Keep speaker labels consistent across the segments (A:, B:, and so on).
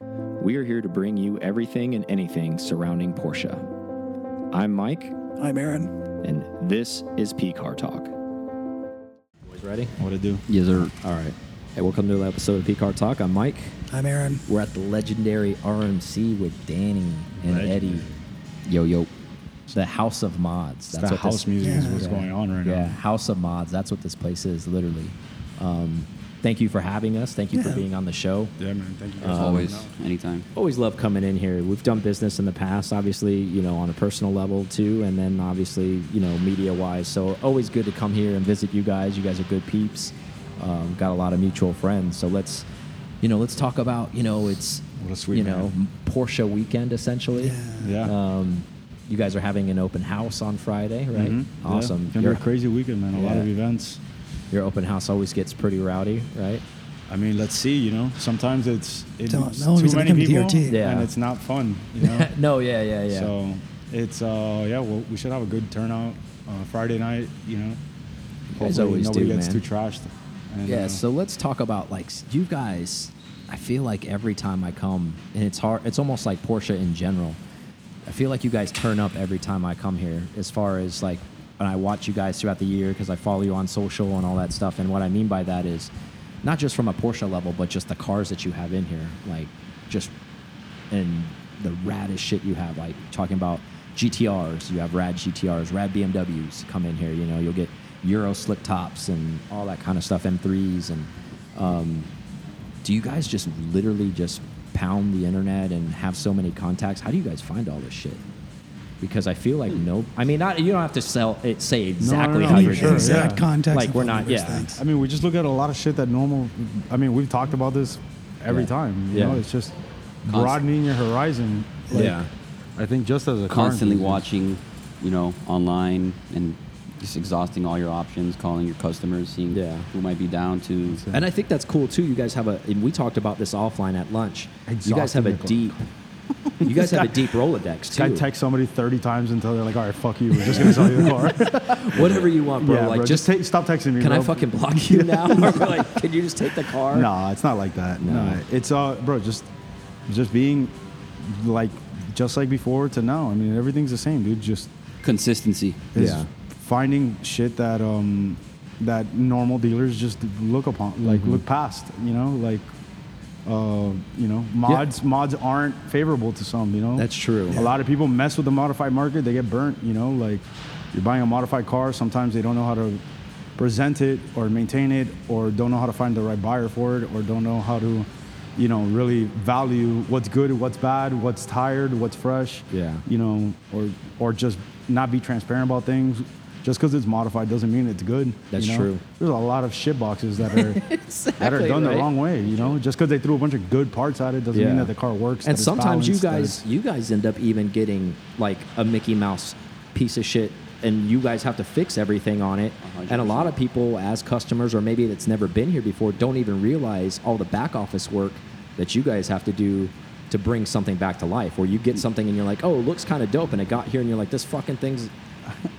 A: we are here to bring you everything and anything surrounding Porsche. I'm Mike,
B: I'm Aaron.
A: and this is P Car Talk. Boys, ready?
C: What it do?
A: Yes, sir. All right. Hey, welcome to another episode of P Car Talk. I'm Mike.
B: I'm Aaron.
D: We're at the legendary RMC with Danny and
C: Legendary.
D: Eddie. Yo, yo. The House of Mods.
C: That's the house music is what's
D: Yeah.
C: going on right
D: Yeah,
C: now.
D: House of Mods. That's what this place is, literally. Um, thank you for having us. Thank you for
B: Yeah.
D: being on the show.
C: Yeah, man. Thank you.
D: Uh,
C: guys.
E: Always, Um, anytime.
A: Always love coming in here. We've done business in the past, obviously, you know, on a personal level too, and then obviously, you know, media wise. So always good to come here and visit you guys. You guys are good peeps. Um, got a lot of mutual friends. So let's
D: You know, let's talk about, you know, it's,
C: What a sweet
D: you know,
C: man.
D: Porsche weekend, essentially.
C: Yeah.
D: Um, you guys are having an open house on Friday, right?
C: Mhm.
D: Mm-hmm. Awesome.
C: Yeah. Gonna
D: Your,
C: be a crazy weekend, man. A lot
D: Yeah.
C: of events.
D: your open house always gets pretty rowdy, right?
C: I mean, let's see. You know, sometimes it's it's
B: Tell- no one
C: too
B: reason to
C: many
B: come to your
C: people,
B: team.
D: Yeah.
C: and it's not fun. You know.
D: no, yeah, yeah, yeah.
C: So it's uh yeah. Well, we should have a good turnout uh, Friday night. You know.
D: guys
C: Hopefully
D: always
C: nobody
D: do,
C: gets
D: man.
C: too trashed. And,
D: Yeah,
C: uh,
D: so let's talk about like s- you guys. I feel like every time I come, and it's hard. It's almost like Porsche in general. I feel like you guys turn up every time I come here, as far as like, and I watch you guys throughout the year because I follow you on social and all that stuff. And what I mean by that is, not just from a Porsche level, but just the cars that you have in here, like just and the raddest shit you have. Like talking about GTRs, you have rad GTRs, rad BMWs come in here. You know, you'll get Euro slick tops and all that kind of stuff, M3s. And um, do you guys just literally just pound the internet and have so many contacts? How do you guys find all this shit? Because I feel like no, I mean, not you don't have to sell it, say exactly
C: Hmm. no,
D: how
C: for
D: you're
C: sure,
D: doing it.
B: exact
C: yeah.
B: context.
D: Like,
B: of
D: we're
B: all
D: not-
B: of those
D: yeah.
B: things.
C: I mean, we just look at a lot of shit that normal. I mean, we've talked about this every
D: Yeah.
C: time. You
D: Yeah.
C: know, it's just broadening your horizon. Like,
D: Yeah.
C: I think just as a car
E: Constantly
C: enthusiast-
E: watching, you know, online and just exhausting all your options, calling your customers, seeing
D: Yeah.
E: who might be down to.
D: And I think that's cool too. You guys have a, and we talked about this offline at lunch. you guys have a
C: Exhausting
D: deep, you guys have a deep Rolodex
C: I
D: too.
C: text somebody 30 times until they're like, all right, fuck you. We're just going to sell you the car.
D: Whatever you want, bro.
C: yeah,
D: like
C: bro,
D: just,
C: just, ta- stop texting me.
D: can I
C: bro.
D: fucking block you now? or like, can you just take the car?
C: Nah, it's not like that. No,
D: No.
C: it's uh, bro, just, just being, like, just like before to now. I mean, everything's the same, dude. Just
E: Consistency.
C: is
D: Yeah.
C: finding shit that um that normal dealers just look upon
D: Mm-hmm.
C: like look past you know like uh you know mods mods aren't favorable to some you know
D: That's true.
C: a lot of people mess with the modified market they get burnt you know like you're buying a modified car sometimes they don't know how to present it or maintain it or don't know how to find the right buyer for it or don't know how to you know really value what's good what's bad what's tired what's fresh
D: Yeah.
C: you know, or or just not be transparent about things. Just because it's modified doesn't mean it's good.
D: That's
C: you know?
D: true.
C: There's a lot of shit boxes that are that are
D: Exactly,
C: done
D: right.
C: the wrong way. You know, just because they threw a bunch of good parts at it doesn't
D: Yeah.
C: mean that the car works.
D: And
C: that it's
D: sometimes you
C: balanced, that
D: guys, you guys end up even getting like a Mickey Mouse piece of shit, and you guys have to fix everything on it. And a lot of people, as customers, or maybe that's never been here before, don't even realize all the back office work that you guys have to do to bring something back to life. Where you get something and you're like, oh, it looks kind of dope, and it got here, and you're like, this fucking thing's
C: it's-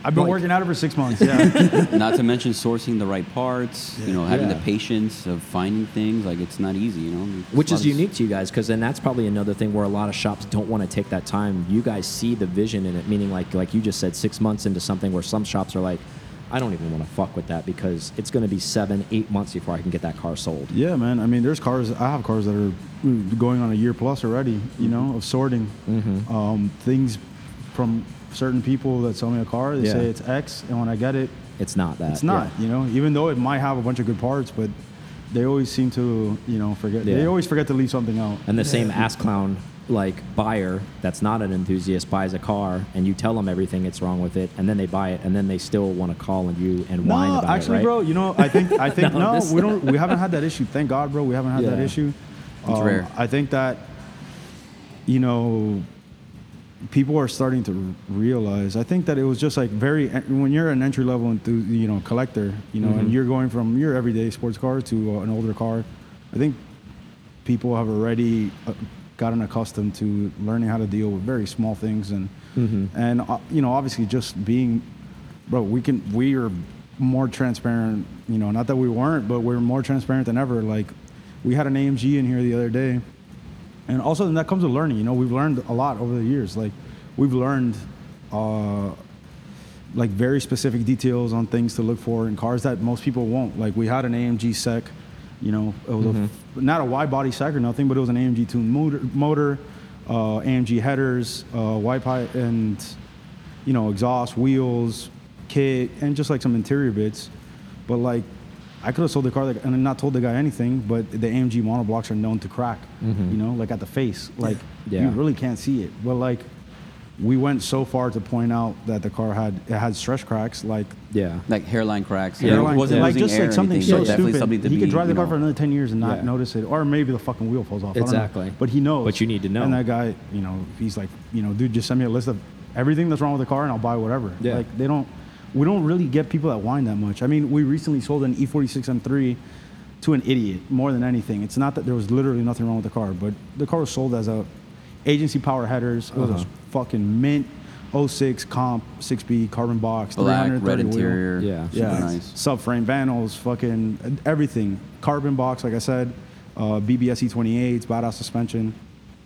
C: I've been
D: like-
C: working at it for six months. Yeah,
E: Not to mention sourcing the right parts, you know, having
D: Yeah.
E: the patience of finding things. Like, it's not easy, you know. It's
D: which
E: a
D: is
E: lot of-
D: unique to you guys because then that's probably another thing where a lot of shops don't want to take that time you guys see the vision in it meaning like like you just said six months into something where some shops are like i don't even want to fuck with that because it's going to be seven eight months before i can get that car sold
C: yeah, man. I mean, there's cars. I have cars that are going on a year plus already. You know, of sorting um, things from certain people that sell me a car. They
D: Yeah.
C: say it's X, and when I get it,
D: it's not that
C: It's not,
D: yeah.
C: you know, even though it might have a bunch of good parts, but they always seem to, you know, forget. They
D: Yeah.
C: always forget to leave something out.
D: and the same ass clown like buyer that's not an enthusiast buys a car and you tell them everything that's wrong with it and then they buy it and then they still want to call on you and whine
C: No,
D: about
C: actually,
D: it right?
C: bro, you know, I think, I think,
D: No,
C: no,
D: this-
C: we don't, we haven't had that issue. Thank God, bro, we haven't had that
D: Yeah.
C: issue. It's
E: rare.
C: I think that, you know, people are starting to r- realize. I think that it was just like very when you're an entry level, enthu- you know, collector, you know,
D: Mm-hmm.
C: and you're going from your everyday sports car to uh, an older car. I think people have already uh, gotten accustomed to learning how to deal with very small things and and uh, you know obviously just being bro we can we are more transparent you know not that we weren't but we're more transparent than ever like we had an AMG in here the other day and also then that comes with learning. You know, we've learned a lot over the years. Like we've learned. Uh, like very specific details on things to look for in cars that most people won't. Like we had an AMG sec, you know, it was a f not a wide body sec or nothing, but it was an AMG tuned motor, motor uh, AMG headers, uh, wide pipe, and you know, exhaust, wheels, kit, and just like some interior bits. But like, I could have sold the car like, and not told the guy anything. But the AMG monoblocks are known to crack, you know, like at the face, like
D: Yeah.
C: you really can't see it. But like, we went so far to point out that the car had it had stress cracks, like
D: Yeah.
E: Like hairline cracks.
D: Yeah.
E: It
D: Hairline
E: wasn't
C: like
E: losing
C: just
E: air
C: like
E: or
C: something
E: anything,
C: so
E: but definitely
C: stupid.
E: something to
C: he
E: be,
C: could drive the
E: you
C: car
E: know,
C: for another ten years and not
D: Yeah.
C: notice it, or maybe the fucking wheel falls off. I don't know.
D: Exactly.
C: But he knows.
D: But you need to know.
C: And that guy, you know, he's like, you know, dude, just send me a list of everything that's wrong with the car, and I'll buy whatever.
D: Yeah.
C: Like they don't, we don't really get people that whine that much. I mean, we recently sold an E E46 M3 to an idiot more than anything. It's not that there was literally nothing wrong with the car, but the car was sold as a agency power headers. It was
E: Uh-huh.
C: a fucking mint 06 comp 6B carbon box,
E: black, red
C: 330 wheel
E: interior.
D: Yeah.
E: Super
C: yeah,
E: nice.
C: subframe panels, fucking everything. Carbon box, like I said, uh, BBS E28s, badass suspension.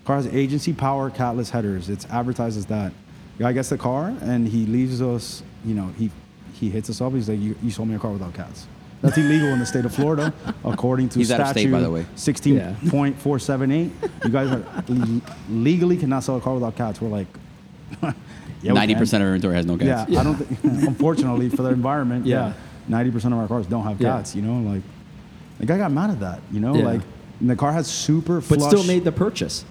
C: Car has agency power catless headers. It's advertised as that. Guy gets the car and he leaves us. You know, he he hits us up. He's like, "You, you sold me a car without cats." That's illegal in the state of Florida, according to
E: He's out
C: statute
E: of state, by the way.
C: sixteen point four seven eight. You guys are, le- legally cannot sell a car without cats. We're like, yeah, we can.
E: Ninety percent of our inventory has no
C: Yeah,
E: gas.
C: I don't. Th- unfortunately, for the environment, yeah, ninety percent of our cars don't have
D: Yeah.
C: cats. You know, like the guy got mad at that. You know,
D: Yeah.
C: like and the car has super
D: But
C: flush.
D: still made the purchase.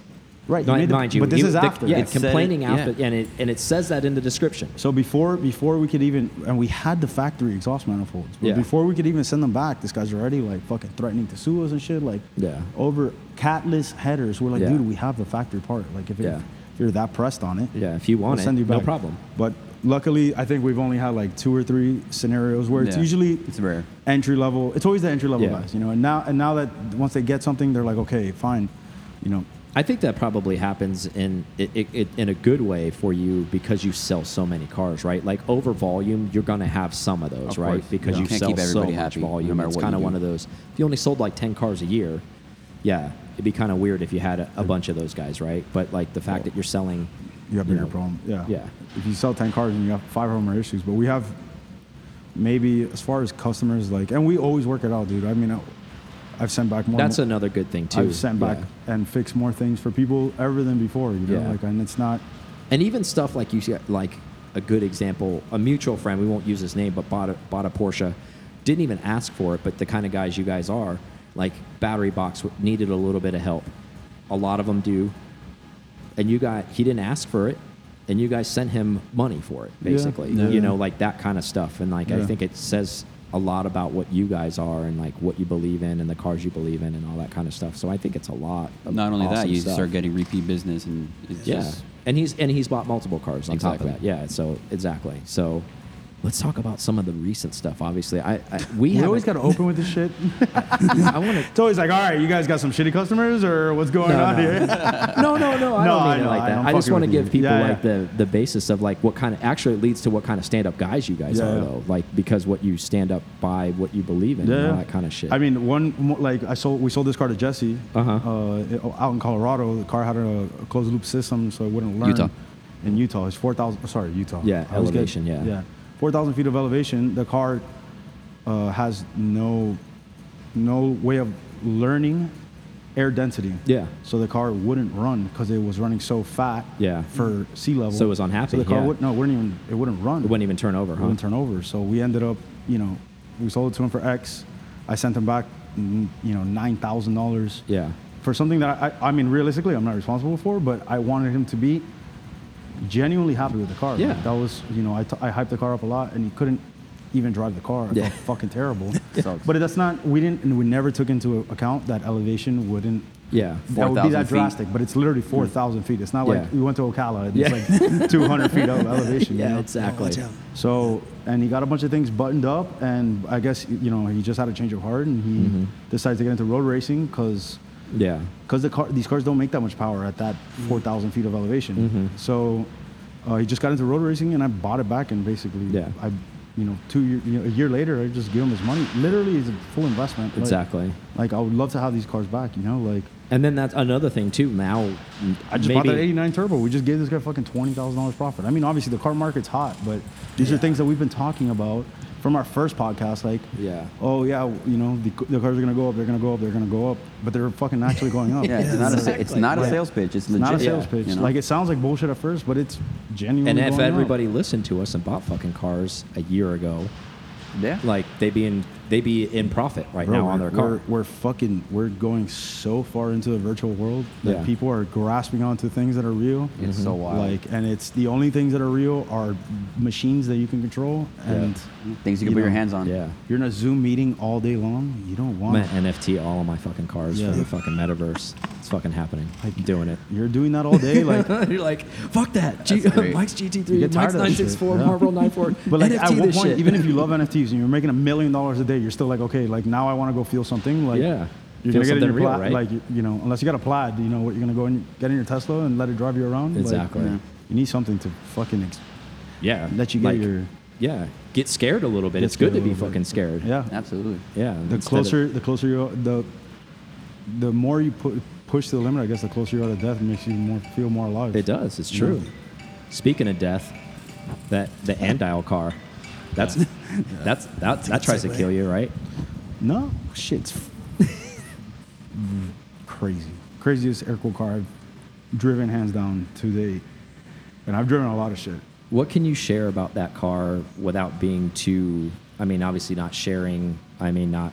C: right.
D: Mind-
C: made the-
D: mind you,
C: but this
D: he-
C: is
D: the-
C: after.
D: yeah,
E: It said
D: complaining
E: it-
D: after,
E: yeah.
D: and it and it says that in the description.
C: So before before we could even and we had the factory exhaust manifolds, but
D: Yeah.
C: before we could even send them back, this guy's already like fucking threatening to sue us and shit. Like
D: Yeah.
C: over catless headers. We're like,
D: Yeah.
C: dude, we have the factory part. Like if, it,
D: Yeah.
C: if you're that pressed on it,
D: Yeah, if you want
C: we'll
D: it,
C: send you
D: no
C: back.
D: problem.
C: But luckily, I think we've only had like two or three scenarios where it's
E: Yeah.
C: usually
E: It's rare.
C: entry level. It's always the entry level
D: Yeah.
C: guys, you know. And now and now that once they get something, they're like, okay, fine, you know.
D: I think that probably happens in it, it, it, in a good way for you because you sell so many cars, right? Like over volume, you're going to have some of those,
E: Of
D: right?
E: course.
D: Because
E: Yeah.
D: you
E: Can't
D: sell
E: keep
D: so
E: everybody
D: much
E: happy, no
D: volume.
E: matter
D: it's
E: what
D: kind of
E: you
D: one
E: do.
D: of those. If you only sold like ten cars a year, yeah, it'd be kind of weird if you had a, a bunch of those guys, right? But like the fact that you're selling,
C: You have
D: you
C: bigger
D: know,
C: problem. Yeah.
D: yeah.
C: If you sell ten cars and you have five of them are issues, but we have maybe as far as customers like, and we always work it out, dude. I mean, I, I've sent back more.
D: That's another good thing too.
C: I've sent back
D: Yeah.
C: and fixed more things for people ever than before. You know,
D: Yeah.
C: like, and it's not.
D: And even stuff like you see, like a good example, a mutual friend, we won't use his name, but bought a, bought a Porsche, didn't even ask for it, but the kind of guys you guys are, like battery box w- needed a little bit of help. A lot of them do. And you got, he didn't ask for it, and you guys sent him money for it,
C: Yeah.
D: basically.
C: Yeah.
D: You know, like that kind of stuff. And like, I
C: Yeah.
D: think it says a lot about what you guys are and like what you believe in and the cars you believe in and all that kind of stuff. So I think it's a lot. Of
E: Not only that,
D: awesome
E: you
D: stuff.
E: start getting repeat business, and it's
D: Yeah,
E: just
D: and he's and he's bought multiple cars on
E: Exactly.
D: top of that. Yeah, so exactly. So let's talk about some of the recent stuff. Obviously, I, I we,
C: We
D: haven't-
C: always got to open with this shit.
D: I want to.
C: It's always like, all right, you guys got some shitty customers, or what's going
D: No,
C: on
D: no.
C: here?
D: No, no, no. I
C: No,
D: don't mean
C: I
D: it
C: know,
D: like
C: I
D: that.
C: know. I'm
D: I, just
C: fucking
D: want to
C: with you.
D: give people
C: Yeah,
D: like
C: yeah.
D: the the basis of like what kind of actually it leads to what kind of stand up guys you guys
C: Yeah,
D: are
C: yeah.
D: though. Like because what you stand up by, what you believe in, and all that kind of shit.
C: I mean, one mo- like I sold, we sold this car to Jesse
D: Uh-huh.
C: uh, it- out in Colorado. The car had a, a closed loop system, so it wouldn't learn.
E: Utah.
C: In Utah, it's four thousand. Sorry, Utah.
D: Yeah,
C: I always get-
D: elevation, yeah.
C: yeah, four thousand feet of elevation. The car uh, has no no way of learning air density.
D: Yeah.
C: So the car wouldn't run because it was running so fat.
D: Yeah.
C: For sea level.
D: So it was unhappy,
C: So the car
D: yeah.
C: would no, it wouldn't even it wouldn't run.
D: it wouldn't even turn over,
C: We
D: huh?
C: wouldn't turn over. So we ended up, you know, we sold it to him for X. I sent him back, mm, you know, nine thousand dollars.
D: Yeah.
C: For something that I, I mean, realistically, I'm not responsible for, but I wanted him to be genuinely happy with the car.
D: Yeah.
C: Like, that was, you know, I, t- I hyped the car up a lot, and he couldn't even drive the car. I
D: Yeah.
C: felt fucking terrible.
E: Sucks.
C: but that's not. We didn't. and We never took into account that elevation wouldn't.
D: Yeah.
C: That would be
E: 4,000
C: that
E: feet.
C: drastic, but it's literally 4,000 feet. It's not like
D: Yeah.
C: we went to Ocala. and It's like 200 feet of elevation. you
D: Yeah,
C: know?
D: exactly.
B: Watch out.
C: So, and he got a bunch of things buttoned up, and I guess you know he just had a change of heart, and he
D: Mm-hmm.
C: decided to get into road racing because
D: Yeah.
C: because the car these cars don't make that much power at that
D: Mm-hmm.
C: four thousand feet of elevation. So uh, he just got into road racing, and I bought it back, and basically,
D: Yeah.
C: I you know two year, you know, a year later, I just give him his money. Literally, it's a full investment. Like-
D: Exactly.
C: Like I would love to have these cars back. You know, like
D: And then that's another thing too. Now,
C: I just
D: maybe,
C: bought that 89 Turbo. We just gave this guy fucking $20,000 profit. I mean, obviously the car market's hot, but these are things that we've been talking about from our first podcast. Like,
D: Yeah.
C: oh, yeah, you know, the, the cars are going to go up, they're going to go up, they're going to go up, but they're fucking actually going up.
E: Yeah, it's not a sa- it's not a sales pitch. It's
C: It's
E: legit.
C: not a sales pitch.
E: you know?
C: Like, it sounds like bullshit at first, but it's genuinely.
D: And if
C: going up.
D: everybody listened to us and bought fucking cars a year ago,
E: yeah.
D: like they be in they be in profit right
C: Bro,
D: now on
C: we're-
D: their car.
C: We're, we're fucking, we're going so far into the virtual world that
D: Yeah.
C: people are grasping onto things that are real. Mm-hmm.
E: It's so wild.
C: Like, and it's the only things that are real are machines that you can control, and
E: Things you can
C: you
E: put your
C: know,
E: hands on.
D: yeah.
C: you're in a Zoom meeting all day long. You don't
D: I'm
C: want.
D: gonna
C: it.
D: NFT all of my fucking cars
C: Yeah.
D: for the fucking metaverse. It's fucking happening. I'm
C: Like-
D: doing it.
C: You're doing that all day, like.
D: You're like, fuck that. G-
E: That's great.
D: Mike's
C: You
D: GT3,
C: get
D: Mike's
C: tired of that shit,
D: 964,
C: yeah.
D: Marlboro 94.
C: But like
D: NFT
C: at one
D: this
C: point,
D: shit.
C: even if you love NFTs and you're making a million dollars a day, you're still like, okay, like now I want to go feel something. Like,
D: Yeah. Feel
C: you're gonna get in
D: something
C: your
D: real,
C: plaid,
D: right?
C: like you, you know, unless you got a plaid, you know, what you're gonna go and get in your Tesla and let it drive you around. Like,
D: Exactly.
E: Yeah.
C: you need something to fucking ex-
D: yeah,
C: let you get
D: Like,
C: your
D: yeah, get scared a little bit.
C: Get
D: It's good to
C: scared a
D: be
C: little
D: fucking scared.
C: yeah.
E: Absolutely.
D: yeah. instead
C: The
D: of-
C: closer, the closer you the the more you put push to the limit, I guess the closer you are to death, it makes you more feel more alive.
D: It does. It's true. Speaking of death, that the Andile car, that's that's that that tries to kill you, right?
C: Oh, No shit's f- crazy. Craziest air cool car I've driven hands down to date, and I've driven a lot of shit.
D: What can you share about that car without being too? I mean, obviously not sharing. I mean, not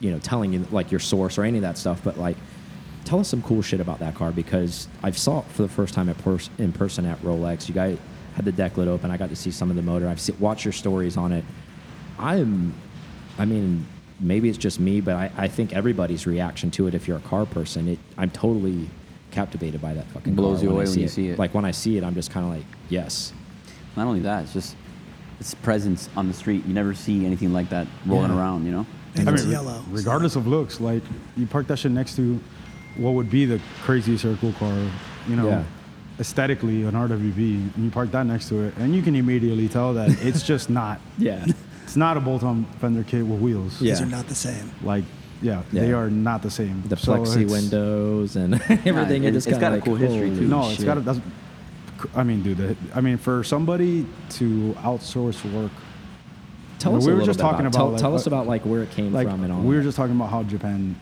D: you know telling you like your source or any of that stuff, but like tell us some cool shit about that car because I saw it for the first time at pers- in person at Rolex. You guys had the deck lid open. I got to see some of the motor. I've se- watched your stories on it. I'm, I mean, maybe it's just me, but I, I think everybody's reaction to it, if you're a car person, it, I'm totally captivated by that fucking
E: Blows
D: car
E: you
D: when I
E: away when you see it.
D: Like when I see it, I'm just kind of like, yes,
E: Not only that, it's just it's presence on the street. You never see anything like that rolling
B: Yeah.
E: around. You know.
B: And it's
C: re-
B: yellow.
C: Regardless of looks, like you park that shit next to what would be the craziest air cool car, you know,
D: Yeah.
C: aesthetically an RWB, and you park that next to it, and you can immediately tell that it's just not.
D: yeah,
C: It's not a bolt-on fender kit with wheels.
D: Yeah.
B: These are not the same.
C: Like, yeah, they
D: Yeah.
C: are not the same.
D: the
C: So
D: plexi
C: it's-
D: windows and everything.
E: it-
D: You're just
E: it's
D: kinda
E: got a
D: like,
E: cool history,
D: holy
E: too.
C: No, it's
D: shit.
C: got to. That's, I mean, dude. the- I mean, for somebody to outsource work,
D: Tell
C: we
D: us a
C: were
D: little
C: just
D: bit
C: talking
D: about.
C: about,
D: tell,
C: like,
D: tell us
C: what-
D: about like where it came
C: like
D: from and all.
C: we were
D: that.
C: just talking about how Japan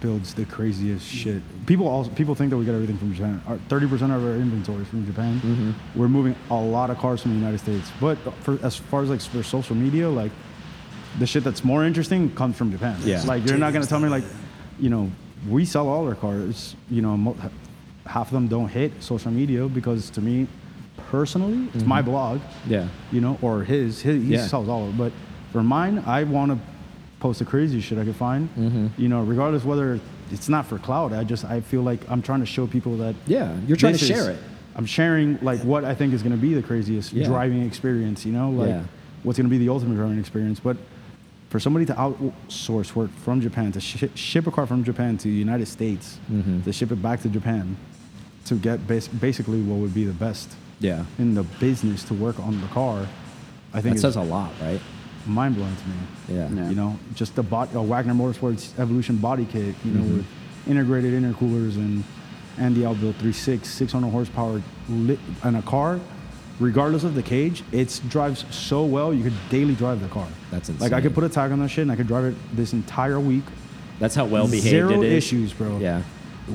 C: builds the craziest shit. People also people think that we get everything from Japan. Thirty percent of our inventory is from Japan.
D: Mm-hmm.
C: We're moving a lot of cars from the United States, but for, as far as like for social media, like the shit that's more interesting comes from Japan.
D: Yeah.
C: like you're not gonna
B: Japan's
C: tell me like,
B: dominant.
C: you know, we sell all our cars. You know, mo- half of them don't hit social media because to me, personally, it's my blog
D: Mm-hmm. yeah,
C: you know, or his. his he
D: Yeah.
C: sells all of it. But for mine, I want to post the craziest shit I could find.
D: Mm-hmm.
C: You know, regardless whether it's not for cloud, I just I feel like I'm trying to show people that.
D: yeah. You're trying to
C: this is-
D: share it.
C: I'm sharing like what I think is going to be the craziest
D: Yeah.
C: driving experience. You know, like
D: Yeah.
C: what's going to be the ultimate driving experience, but. For somebody to outsource work from Japan to shi ship a car from Japan to the United States,
D: Mm-hmm.
C: to ship it back to Japan, to get bas- basically what would be the best
D: Yeah,
C: in the business to work on the car, I think
D: that
C: it's
D: says a lot, right?
C: mind blowing to me.
D: Yeah.
E: Yeah.
C: You know, just the bot, uh, Wagner Motorsports Evolution body kit, you know,
D: Mm-hmm.
C: with integrated intercoolers and Andy Outbuilt 36, 600 horsepower lit on a car. Regardless of the cage, it drives so well you could daily drive the car.
D: That's
C: Like I
D: insane.
C: could put a tag on that shit and I could drive it this entire week.
D: That's how well behaved
C: Zero
D: it is.
C: issues, bro.
D: Yeah,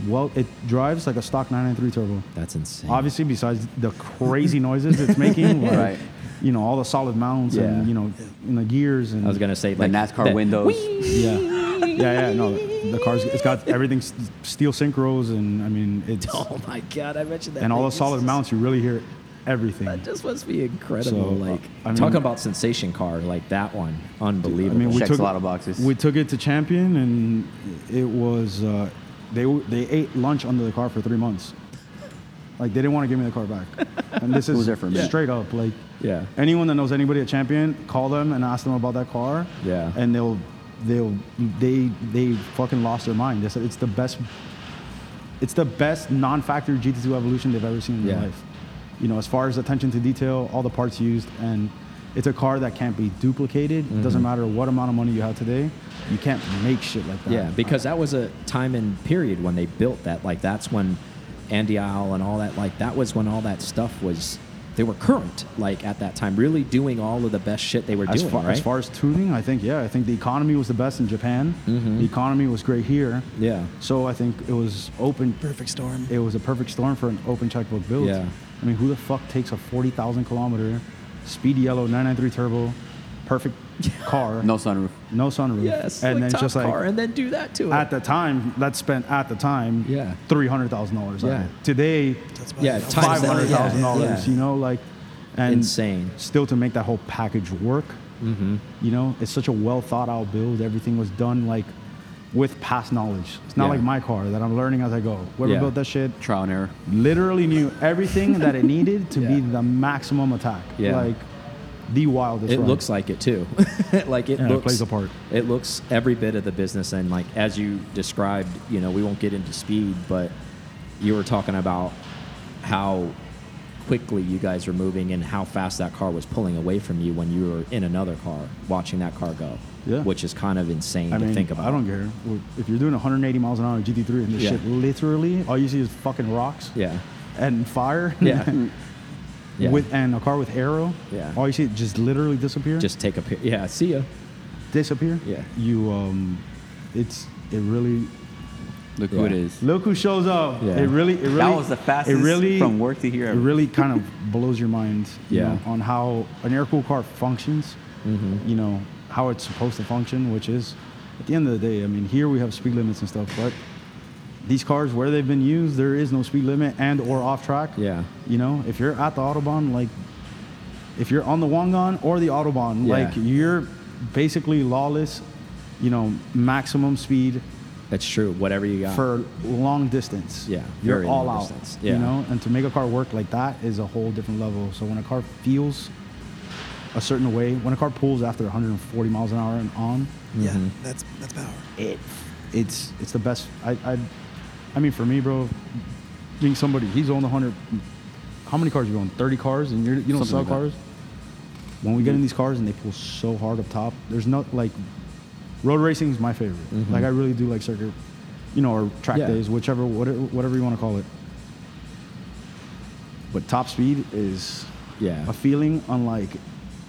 C: Well, it drives like a stock 993 turbo.
D: that's insane.
C: Obviously, besides the crazy noises it's making, like,
E: Right.
C: You know all the solid mounts
D: Yeah.
C: and you know in the gears and
D: I was gonna say
E: The
D: like
E: NASCAR
D: that-
E: windows.
C: yeah yeah yeah no the car's it's got everything s- steel synchros and I mean it's
D: Oh my god! I mentioned that.
C: and all
D: thing
C: the
D: is
C: solid
D: just-
C: mounts you really hear everything.
D: That just must be incredible.
C: So, uh,
D: like
C: I mean-
D: talking about sensation car, like that one,
C: I
D: unbelievable.
C: mean we
E: Checks
C: took
E: a lot of boxes.
C: We took it to Champion and it was uh, they w- they ate lunch under the car for three months. Like they didn't want to give me the car back, and this is
E: was there for a minute.
C: straight up like
D: yeah,
C: anyone that knows anybody at Champion, call them and ask them about that car.
D: Yeah.
C: And they'll they'll they they fucking lost their mind. They said it's the best it's the best non-factory GT2 evolution they've ever seen in
D: Yeah.
C: their life. You know, as far as attention to detail, all the parts used and It's a car that can't be duplicated. It doesn't
D: Mm-hmm.
C: matter what amount of money you have today. You can't make shit like that.
D: Yeah, because that was a time and period when they built that. Like that's when Andy Isle and all that. Like that was when all that stuff was. They were current, like at that time, really doing all of the best shit they were
C: As
D: doing.
C: far,
D: right?
C: as far as tuning, I think yeah, I think the economy was the best in Japan. The economy was great here.
D: Mm-hmm. Yeah.
C: So I think it was open.
B: Perfect storm.
C: It was a perfect storm for an open checkbook build.
D: Yeah.
C: I mean, who the fuck takes a forty thousand kilometer, speed yellow nine nine three turbo, perfect car,
E: No sunroof.
C: no sunroof,
D: yes,
C: and
D: like
C: then
D: top
C: just like
D: car, and then do that to it.
C: at the time that spent at the time
D: Yeah.
C: three hundred thousand dollars.
D: Yeah.
C: Today,
B: That's
D: Yeah,
B: about-
D: times
C: five
D: that,
C: hundred thousand
D: yeah,
C: dollars.
D: yeah.
C: You know, like and
D: Insane.
C: Still to make that whole package work. Mm-hmm. You know, it's such a well thought out build. Everything was done like with past knowledge. It's not
D: Yeah.
C: like my car that I'm learning as I go. Whoever
D: Yeah.
C: built that shit
E: Trial and error.
C: literally knew everything that it needed to be
D: Yeah.
C: the maximum attack.
D: Yeah.
C: Like the wildest.
D: it
C: ride.
D: looks like it too. like it
C: Yeah, it
D: looks
C: plays a part.
D: It looks every bit of the business, and like as you described, you know, we won't get into speed, but you were talking about how quickly you guys were moving and how fast that car was pulling away from you when you were in another car watching that car go.
C: Yeah.
D: which is kind of insane
C: I
D: to
C: mean,
D: think about.
C: I don't care. If you're doing 180 miles an hour in GT3 and this
D: Yeah.
C: shit literally, all you see is fucking rocks
D: Yeah,
C: and fire.
D: yeah, yeah.
C: with and a car with arrow.
D: Yeah.
C: All you see it just literally disappear.
D: just take a pic. Yeah, see ya.
C: disappear.
D: Yeah.
C: You um, it's it really.
E: Look who it
D: Yeah.
E: is.
C: Look who shows up.
D: Yeah.
C: It really, it really.
E: was the fastest
C: it really,
E: from work to here
C: It
E: ever.
C: really kind of blows your mind. you
D: Yeah.
C: know, on how an air cooled car functions.
E: Mm-hmm.
C: You know how it's supposed to function, which is, at the end of the day, I mean, here we have speed limits and stuff, but these cars where they've been used, there is no speed limit and or off track.
D: Yeah.
C: You know, if you're at the autobahn, like if you're on the Wangan or the autobahn,
D: Yeah.
C: like you're basically lawless. You know, maximum speed
D: That's true. Whatever you got.
C: for long distance.
D: Yeah,
C: you're
D: very
C: all
D: long
C: out.
D: distance.
C: You
D: Yeah.
C: know, and to make a car work like that is a whole different level. So when a car feels a certain way, when a car pulls after 140 miles an hour and on,
B: Yeah, that's that's power.
C: Mm-hmm. it it's it's the best. I I, I mean, for me, bro, being somebody he's owned 100. How many cars you own? 30 cars, and you're, you don't
E: Something
C: sell
E: like that.
C: cars. When we get in these cars and they pull so hard up top, there's no like. Road racing is my favorite.
E: Mm-hmm.
C: Like I really do like circuit, you know, or track
D: Yeah.
C: days, whichever, whatever, whatever you want to call it. But top speed is
D: Yeah.
C: a feeling unlike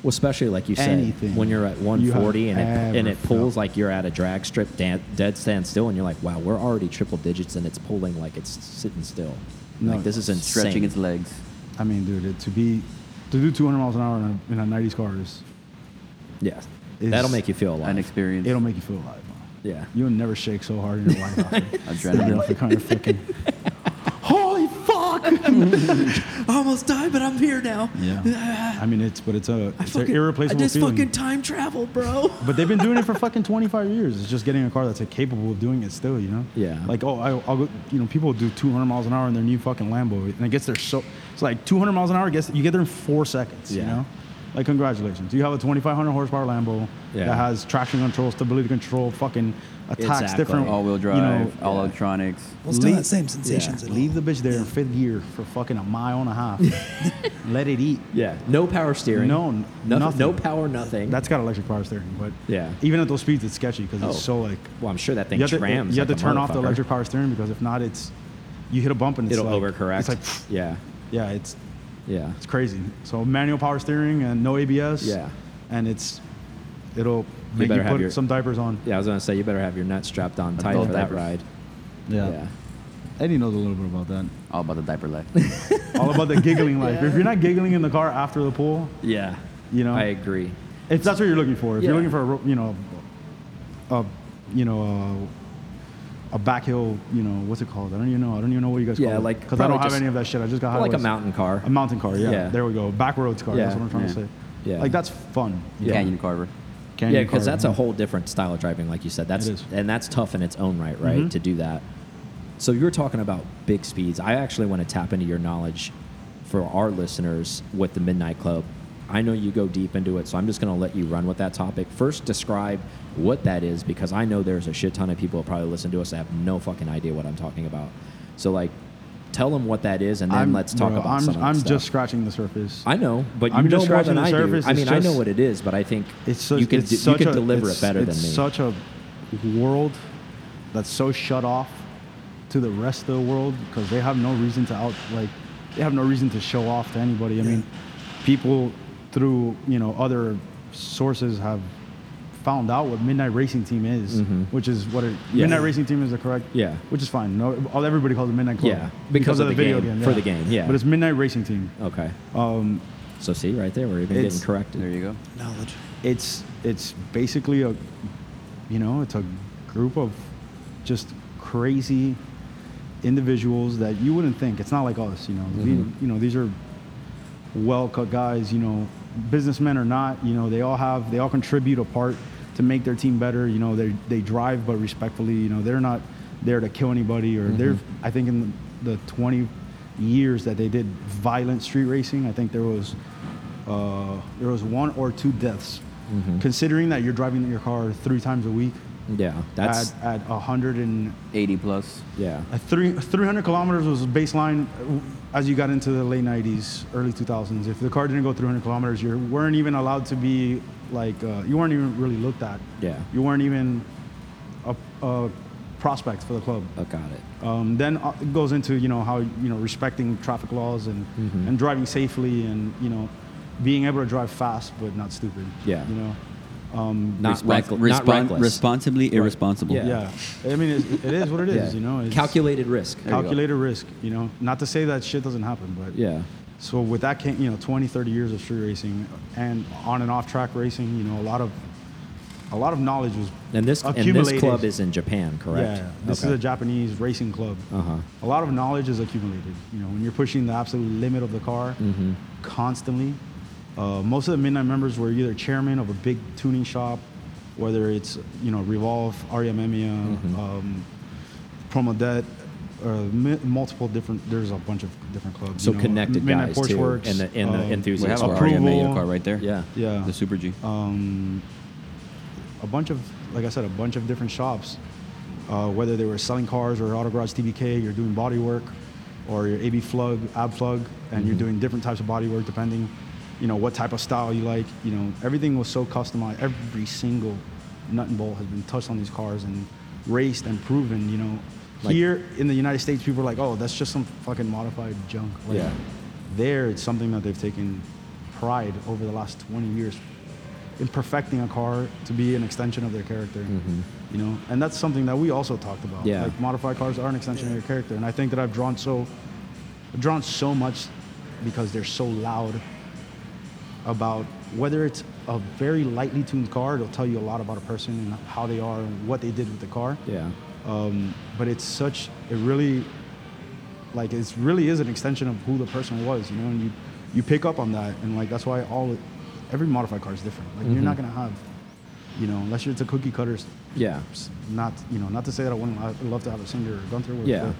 D: Well, especially like you said,
C: Anything
D: when you're at
C: you
D: 140
C: have
D: and it, and
C: ever
D: it pulls
C: felt.
D: like you're at a drag strip, dan- dead stand still, and you're like, wow, we're already triple digits, and it's pulling like it's sitting still.
C: No,
D: like this is insane.
E: Stretching its legs.
C: I mean, dude, it, to be to do 200 miles an hour in a, in a 90s car is
D: yeah,
C: is
D: that'll make you feel
E: An
D: alive.
E: experience.
C: it'll make you feel alive. man.
D: Yeah,
C: You'll never shake so hard in your life.
E: Adrenaline.
C: After kind of freaking. Holy fuck!
B: I almost died, but I'm here now.
C: Yeah. I mean, it's but it's a
B: I
C: it's
B: fucking,
C: an irreplaceable
B: I just
C: feeling.
B: fucking time traveled, bro.
C: but they've been doing it for fucking 25 years. It's just getting a car that's like, capable of doing it still, you know?
D: Yeah.
C: Like, oh, I, I'll go, you know, people do 200 miles an hour in their new fucking Lambo. And it gets there so, it's like 200 miles an hour, gets, you get there in four seconds, you
D: Yeah.
C: know? Like, congratulations. You have a 2,500 horsepower Lambo
D: Yeah.
C: that has traction control, stability control, fucking attacks
D: Exactly.
C: different.
E: All wheel
C: you
E: drive,
C: know,
E: all electronics.
B: Well, still
C: Leave-
B: that same sensations at all.
C: Leave the bitch there in fifth gear for fucking a mile and a half. Let it eat.
D: yeah. No power steering.
C: No, n-
D: nothing.
C: nothing.
D: No power. Nothing.
C: That's got electric power steering, but
D: Yeah.
C: even at those speeds, it's sketchy because
D: Oh.
C: it's so like
D: well, I'm sure that thing
C: you have to,
D: trams.
C: you have
D: like
C: to
D: a
C: turn off the
D: motherfucker.
C: electric power steering because if not, it's you hit a bump and it's
D: It'll
C: like,
D: overcorrect.
C: It's like
D: yeah,
C: yeah, it's
D: yeah.
C: it's crazy. So manual power steering and no ABS.
D: Yeah.
C: and it's it'll make you,
D: better have
C: put
D: your-
C: some diapers on.
D: Yeah, I was gonna say you better have your nuts strapped on tight
E: Adult
D: for that
E: diapers.
D: ride. Yeah.
C: Eddie knows a little bit about that.
E: All about the diaper life.
C: All about the giggling life. If you're not giggling in the car after the pool,
D: Yeah.
C: You know?
D: I agree.
C: If that's what you're looking for, if
D: Yeah.
C: you're looking for a ro- you know, a you know a, a back hill, you know what's it called? I don't even know. I don't even know what you guys
D: Yeah,
C: call it.
D: like,
C: because I
D: probably
C: don't have
D: just-
C: any of that shit. I just got
D: Like a
C: highways.
D: mountain car.
C: A mountain car. Yeah.
D: Yeah.
C: There we go. Back roads car.
D: Yeah.
C: That's what I'm trying
E: Yeah.
C: to say.
D: Yeah.
C: Like that's fun.
D: Yeah.
E: Canyon Carver.
C: Canyon
D: Yeah, because
C: car,
D: that's a whole different style of driving, like you said. That's
C: It is. Mm-hmm.
D: and that's tough in its own right, right? To do that. So you were talking about big speeds. I actually want to tap into your knowledge for our listeners with the Midnight Club. I know you go deep into it, so I'm just going to let you run with that topic. First, describe what that is because I know there's a shit ton of people that probably listen to us that have no fucking idea what I'm talking about. So, like, tell them what that is, and then let's talk
C: bro,
D: about
C: I'm,
D: some of that
C: I'm
D: stuff.
C: just scratching the surface.
D: I know, but you
C: I'm
D: know
C: just
D: more
C: scratching
D: than
C: the
D: I
C: surface.
D: do. I
C: It's
D: mean, I know
C: just-
D: what it is, but I think
C: It's so,
D: you can
C: it's
D: do- you
C: such
D: can
C: a-
D: deliver
C: it's-
D: it better
C: it's
D: than me.
C: such a world that's so shut off to the rest of the world because they have no reason to out like they have no reason to show off to anybody. I mean, people through you know other sources have found out what Midnight Racing Team is, which is what it,
D: Mm-hmm. Yeah.
C: Midnight Racing Team is the correct
D: Yeah.
C: which is fine. No, all everybody calls it Midnight Club
D: Yeah, because of the game, for the game, yeah.
C: but it's Midnight Racing Team.
D: okay.
C: Um,
D: So see, right there, we're even
C: It's-
D: getting corrected.
E: There you go.
B: knowledge.
C: it's it's basically a you know it's a group of just crazy individuals that you wouldn't think it's not like us you know we, you know these are well cut guys you know businessmen or not you know they all have they all contribute a part to make their team better you know they they drive but respectfully you know they're not there to kill anybody or they're i think in the, the 20 years that they did violent street racing i think there was uh, there was one or two deaths considering that you're driving your car three times a week
D: Yeah, that's
C: at, at 100 and
E: 80 plus.
D: yeah.
C: a three, 300 kilometers was baseline uh, as you got into the late 90s, early 2000s. If the car didn't go 300 kilometers, you weren't even allowed to be like, uh, you weren't even really looked at.
D: Yeah.
C: You weren't even a, a prospect for the club.
D: Oh, got it.
C: Um, then uh, it goes into you know how you know respecting traffic laws and
D: Mm-hmm.
C: and driving safely and you know being able to drive fast but not stupid.
D: Yeah.
C: You know.
D: Not,
E: Respons-
D: reckle-
E: respon-
D: not reckless.
E: Responsibly irresponsible.
D: Yeah.
C: Yeah. I mean, it, it is what it is. You know. It's
D: calculated risk.
E: you go.
C: Calculated risk. You know. Not to say that shit doesn't happen, but
D: Yeah,
C: So with that came, you know, 20, 30 years of street racing and on and off track racing, you know, a lot of a lot of knowledge was
D: and this and this
C: accumulated.
D: club is in Japan, correct?
C: Yeah, this
D: Okay.
C: is a Japanese racing club.
D: Uh-huh.
C: A lot of knowledge is accumulated. You know, when you're pushing the absolute limit of the car
D: Mm-hmm.
C: constantly. Uh, most of the midnight members were either chairman of a big tuning shop, whether it's you know Revolve, E Ariamemia,
D: Mm-hmm.
C: um, Promodet, uh, mi- multiple different. There's a bunch of different clubs.
D: so
C: you know,
D: connected
C: Midnight
D: guys
C: Porsche
D: too,
C: Works,
D: and the and the
C: um,
E: We have
D: enthusiasts.
E: our
D: are.
C: Approval.
E: RMAO car right there.
D: Yeah.
C: Yeah,
E: The Super G.
C: um, a bunch of, like I said, a bunch of different shops, uh, whether they were selling cars or auto garage TBK, you're doing body work or your AB flug, ab flug, and
D: Mm-hmm.
C: you're doing different types of body work depending, you know, what type of style you like. You know, everything was so customized. Every single nut and bolt has been touched on these cars and raced and proven, you know.
D: Like-
C: Here in the United States, people are like, oh, that's just some fucking modified junk. Like,
D: Yeah.
C: There, it's something that they've taken pride over the last 20 years in perfecting a car to be an extension of their character. You know, and that's something that we also talked about.
D: Yeah.
C: Like modified cars are an extension of your character, and I think that I've drawn so, drawn so much, because they're so loud. About whether it's a very lightly tuned car, it'll tell you a lot about a person and how they are and what they did with the car.
D: Yeah.
C: Um, but it's such it really like it really is an extension of who the person was you know and you you pick up on that and like that's why all every modified car is different like you're not
D: Mm-hmm.
C: gonna have you know unless you're it's a cookie cutters
D: Yeah.
C: not you know not to say that i wouldn't lo- love to have a singer or gunther or
D: Yeah.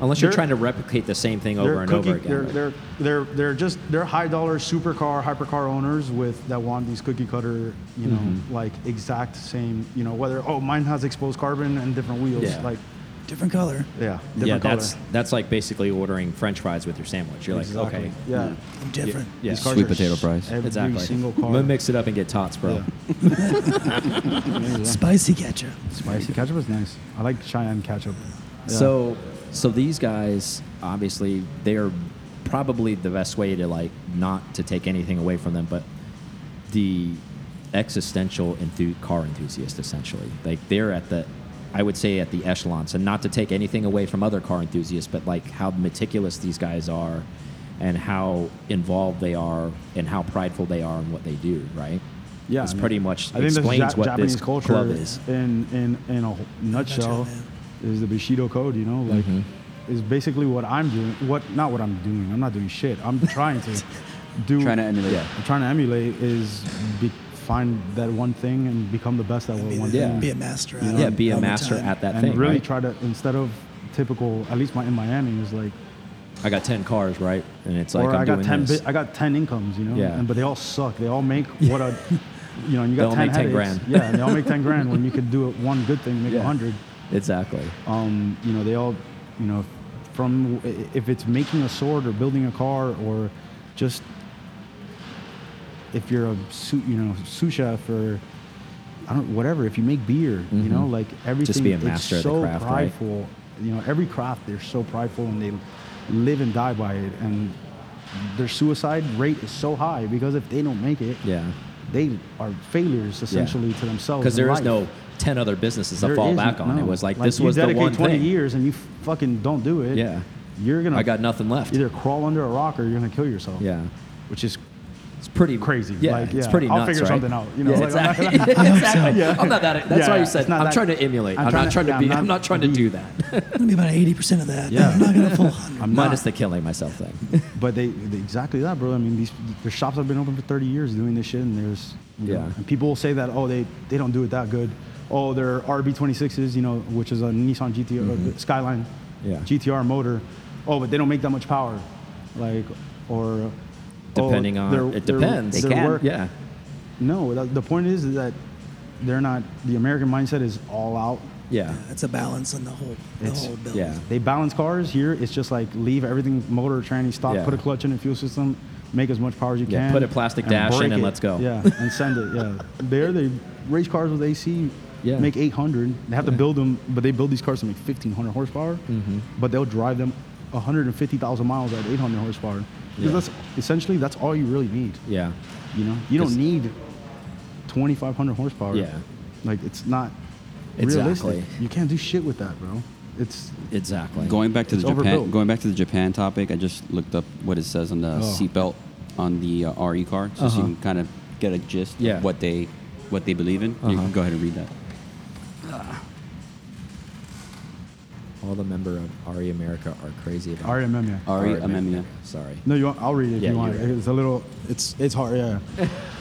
D: Unless you're
C: They're-
D: trying to replicate the same thing over
C: they're
D: and
C: cookie,
D: over again.
C: They're,
D: like-
C: they're, they're, they're just they're high dollar supercar hypercar owners with that want these cookie cutter you know
D: Mm-hmm.
C: like exact same you know whether oh mine has exposed carbon and different wheels
D: Yeah.
C: like
B: Different color.
C: yeah different
D: yeah,
C: color.
D: that's that's like basically ordering French fries with your sandwich. You're like, okay,
C: Yeah.
B: I'm different.
D: yeah,
C: These cars
E: Sweet
C: are
E: potato
C: s-
E: fries.
C: Every
D: exactly.
C: single
D: I'm
C: car.
D: gonna mix it up and get tots, bro.
B: Spicy ketchup.
C: Spicy ketchup is nice. I like Cheyenne ketchup.
D: So, so these guys obviously they are probably the best way to like not to take anything away from them, but the existential enthu- car enthusiast essentially like they're at the I would say at the echelons and not to take anything away from other car enthusiasts, but like how meticulous these guys are and how involved they are and how prideful they are in what they do, right? it's
C: I mean,
D: pretty much
C: I think this
D: explains
C: Ja-
D: what
C: Japanese
D: this
C: culture
D: club is.
C: in in in a wh- nutshell is the Bushido code. You know, like
D: Mm-hmm.
C: is basically what I'm doing. What not what I'm doing. I'm not doing shit. I'm trying to do.
E: Trying to emulate.
D: Yeah.
C: I'm trying to emulate is be, find that one thing and become the best at
B: Be,
C: what one
B: the,
D: Yeah.
C: thing.
B: be a master at it.
D: Yeah, be a
B: all the
D: master
B: time.
D: at that
C: and
D: thing.
C: really
D: right?
C: try to instead of typical, at least my, in Miami, is like
D: I got ten cars, right? And it's like
C: or
D: I'm
C: I got
D: doing
C: ten.
D: this.
C: Bi- I got ten incomes, you know.
D: Yeah.
C: And, but they all suck. They all make what a, you know, you
D: They
C: got
D: all
C: ten
D: make 10
C: headaches.
D: grand.
C: Yeah, and they all make ten grand when you could do it one good thing, make a
D: Yeah.
C: hundred.
D: exactly.
C: Um, you know, they all, you know, from if it's making a sword or building a car or just if you're a sous, you know sous chef or I don't whatever. If you make beer, you know, like everything.
D: Mm-hmm. be a
C: it's
D: master of the
C: so
D: craft, right?
C: prideful. You know, every craft they're so prideful and they live and die by it. And their suicide rate is so high because if they don't make it,
D: Yeah.
C: they are failures essentially to themselves.
D: Because
C: in
D: there is
C: Oh,
D: no
C: life.
D: 10 other businesses to
C: There
D: fall
C: isn't,
D: back on. It
C: no.
D: was like, this was
C: you
D: the
C: dedicate
D: one
C: 20
D: thing.
C: years and you fucking don't do it.
D: Yeah.
C: You're gonna.
D: I got nothing left.
C: Either crawl under a rock or you're gonna kill yourself.
D: Yeah.
C: Which is
D: It's pretty
C: Crazy.
D: Yeah,
C: Like,
D: it's
C: yeah,
D: pretty
C: I'll
D: nuts,
C: figure
D: right?
C: something out, you know,
D: Yeah,
C: like, I'm not-
D: exactly. exactly. I'm not that. That's
C: Yeah,
D: why you
C: it's
D: said
C: not
D: I'm
C: that-
D: trying to emulate.
C: I'm
D: I'm,
C: trying
D: not
C: to-
D: trying to
C: yeah,
D: be.
C: I'm
D: I'm
C: not-
D: not, trying to do that.
B: gonna be about eighty percent of that.
C: Yeah.
B: I'm not gonna full hundred.
C: I'm
D: Minus
C: not.
D: the killing myself thing.
C: But they, they exactly that, bro. I mean, these their shops have been open for 30 years doing this shit, and there's you know,
D: Yeah.
C: and people will say that oh they they don't do it that good. Oh, their RB26s, you know, which is a Nissan GTR uh, Skyline,
D: Mm-hmm. Yeah.
C: GTR motor. Oh, but they don't make that much power, like or oh,
D: Depending on-
C: their-
D: it
C: their-
D: depends.
C: Their,
E: They can,
C: work,
D: yeah.
C: No, the, the point is that they're not. The American mindset is all out.
D: Yeah.
B: It's a balance in the whole the
C: It's-
B: whole build.
D: Yeah.
C: They balance cars here. It's just like leave everything motor tranny stop,
D: Yeah.
C: put a clutch in the fuel system, make as much power as you
D: Yeah,
C: can.
D: put a plastic dash in
C: break
D: and let's go.
C: Yeah, and send it. Yeah, there they race cars with AC.
D: Yeah.
C: make 800. They have to build them, but they build these cars to make 1500 horsepower.
D: Mm-hmm.
C: But they'll drive them 150,000 miles at 800 horsepower. 'Cause
D: Yeah.
C: that's essentially that's all you really need.
D: Yeah.
C: You know, you
D: 'Cause-
C: don't need 2,500 horsepower.
D: Yeah.
C: like it's not
D: Exactly.
C: realistic. You can't do shit with that, bro. It's
D: Exactly.
E: Going back to the
C: It's
E: Japan,
C: overbuilt.
E: going back to the Japan topic, I just looked up what it says on the seatbelt on the uh, RE car, so, so you can kind of get a gist
D: Yeah.
E: of what they what they believe in. You can go ahead and read that.
D: All the member of RE America are crazy about
C: RMM. Yeah.
E: RE
D: RE
E: Amemia.
D: Sorry.
C: No, you want, I'll read it
D: Uh,
C: if
D: Yeah,
C: you
D: you
C: want.
D: read it.
C: It's a little. It's it's hard. Yeah.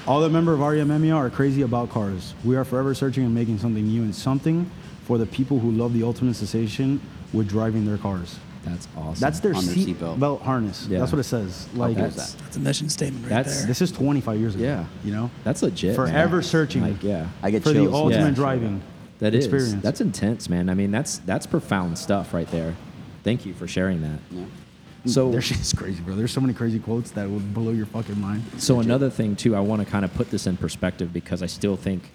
C: All the members of E REMMEA are crazy about cars. We are forever searching and making something new and something for the people who love the ultimate sensation with driving their cars.
D: That's awesome.
C: That's their,
E: On their
C: seat
E: seatbelt.
C: belt harness.
D: Yeah.
C: That's what it says. Like
D: That's-
C: it's-
B: That's a mission statement right
D: That's-
B: there.
C: this is 25 years ago.
D: Yeah.
C: You know.
D: That's legit. man.
C: Forever searching.
D: Like, yeah.
E: I get
C: for
E: chills.
C: the ultimate
D: Yeah.
C: driving.
D: That is.
C: experience.
D: That's intense, man. I mean, that's that's profound stuff right there. Thank you for sharing that.
E: Yeah.
D: So
C: Their shit is crazy, bro. There's so many crazy quotes that will blow your fucking mind.
D: So another thing too, I want to kind of put this in perspective because I still think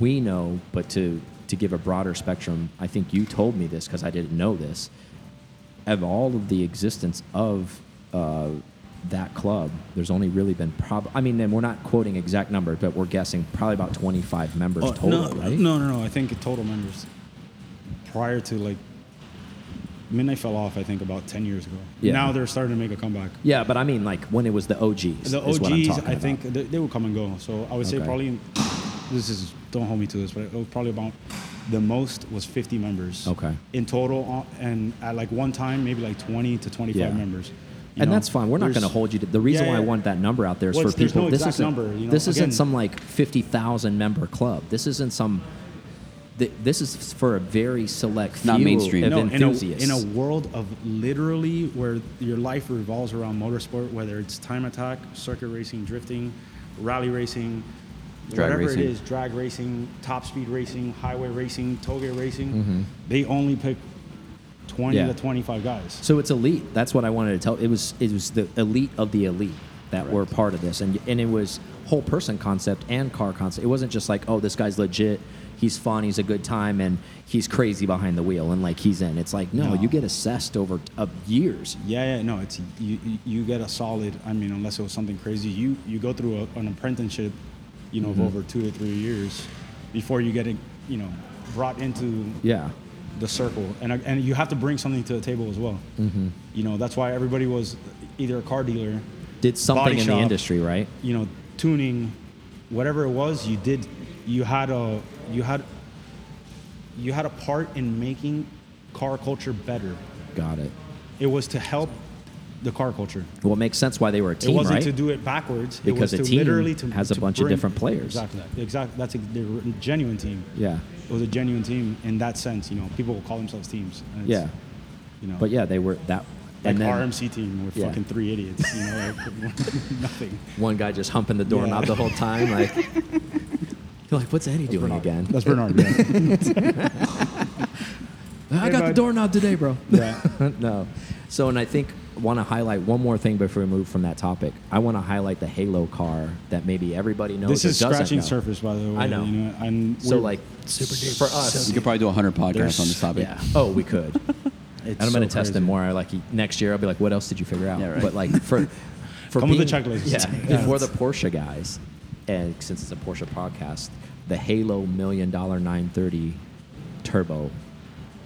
D: we know, but to to give a broader spectrum, I think you told me this because I didn't know this. Of all of the existence of uh, that club, there's only really been prob. I mean, and we're not quoting exact number, but we're guessing probably about 25 members total,
C: Oh, no,
D: right?
C: No, no, no. I think total members prior to like Midnight fell off. I think about ten years ago.
D: Yeah.
C: Now they're starting to make a comeback.
D: Yeah, but I mean, like when it was the OGs.
C: The
D: is what I'm
C: OGs,
D: talking
C: I
D: about.
C: think they, they will come and go. So I would say
D: Okay.
C: probably in- this is don't hold me to this, but it was probably about the most was 50 members.
D: Okay.
C: In total, uh, and at like one time maybe like 20 to 25
D: Yeah.
C: members. you
D: and
C: know.
D: that's fine. We're not
C: There's-
D: going to hold you to the reason
C: Yeah,
D: why I
C: yeah.
D: want that number out there is
C: Well,
D: for
C: there's
D: people.
C: no
D: this
C: exact
D: isn't
C: number, you know.
D: this
C: Again-
D: isn't some like fifty thousand member club. This isn't some. th- This is for a very select few
E: Not mainstream.
D: of
E: No,
C: no, in a,
D: enthusiasts.
C: in a world of literally where your life revolves around motorsport, whether it's time attack, circuit racing, drifting, rally racing,
E: Drag
C: whatever
E: racing.
C: it is, drag racing, top speed racing, highway racing, tollgate racing, they only pick 20
D: Mm-hmm. Yeah.
C: to 25 guys.
D: so it's elite. That's what I wanted to tell. It was it was the elite of the elite that were part of this, and and it was whole person concept and car concept. It wasn't just like oh this guy's legit. He's fun. He's a good time, and he's crazy behind the wheel, and like he's in. It's like no,
C: No.
D: you get assessed over of years.
C: Yeah, yeah, no, it's you, you- you get a solid, I mean, unless it was something crazy, you, you go through a, an apprenticeship, you know,
D: Mm-hmm.
C: of over two or three years before you get, you know, brought into
D: Yeah,
C: the circle, and and you have to bring something to the table as well. Mm-hmm. You know that's why everybody was either a car dealer,
D: did something
C: body
D: in the
C: shop,
D: industry, right?
C: You know, tuning, whatever it was, you did, you had a you had you had a part in making car culture better.
D: Got it.
C: It was to help the car culture.
D: Well, it makes sense why they were a team,
C: it wasn't
D: right?
C: to do it backwards. it
D: Because
C: was
D: a
C: to
D: team
C: literally to,
D: has a
C: to
D: bunch of
C: bring-
D: different players.
C: Exactly. Exactly. That's a they're a genuine team.
D: yeah,
C: It was a genuine team in that sense. You know, people will call themselves teams. and it's-
D: yeah,
C: You know.
D: but yeah, they were that.
C: like
D: and then
C: RMC team with
D: Yeah.
C: fucking three idiots, you know, like nothing.
D: one guy just humping the doorknob
C: Yeah.
D: the whole time, like you're like, what's Eddie doing again?
C: Bernard. Yeah.
D: I got
C: my-
D: the doorknob today, bro.
F: Yeah.
D: no. So, and I think want to highlight one more thing before we move from that topic. I want to highlight the Halo car that maybe everybody knows.
C: This
D: or
C: is
D: doesn't
C: scratching
D: know.
C: surface, by the way.
D: I know.
C: You know and
D: So,
C: we're-
D: like,
B: Super dude.
D: for us,
E: We could probably do 100 podcasts
C: There's-
E: on this topic.
D: yeah. Oh, we could.
C: it's
D: and I'm gonna test
C: so crazy.
D: them more. Like e, next year, I'll be like, "What else did you figure out?"
E: Yeah, right.
D: But like for for
C: Come with a
D: being-
C: checklist.
D: Yeah,
C: Yeah.
D: for the Porsche guys, and since it's a Porsche podcast, the Halo Million Dollar 930 Turbo.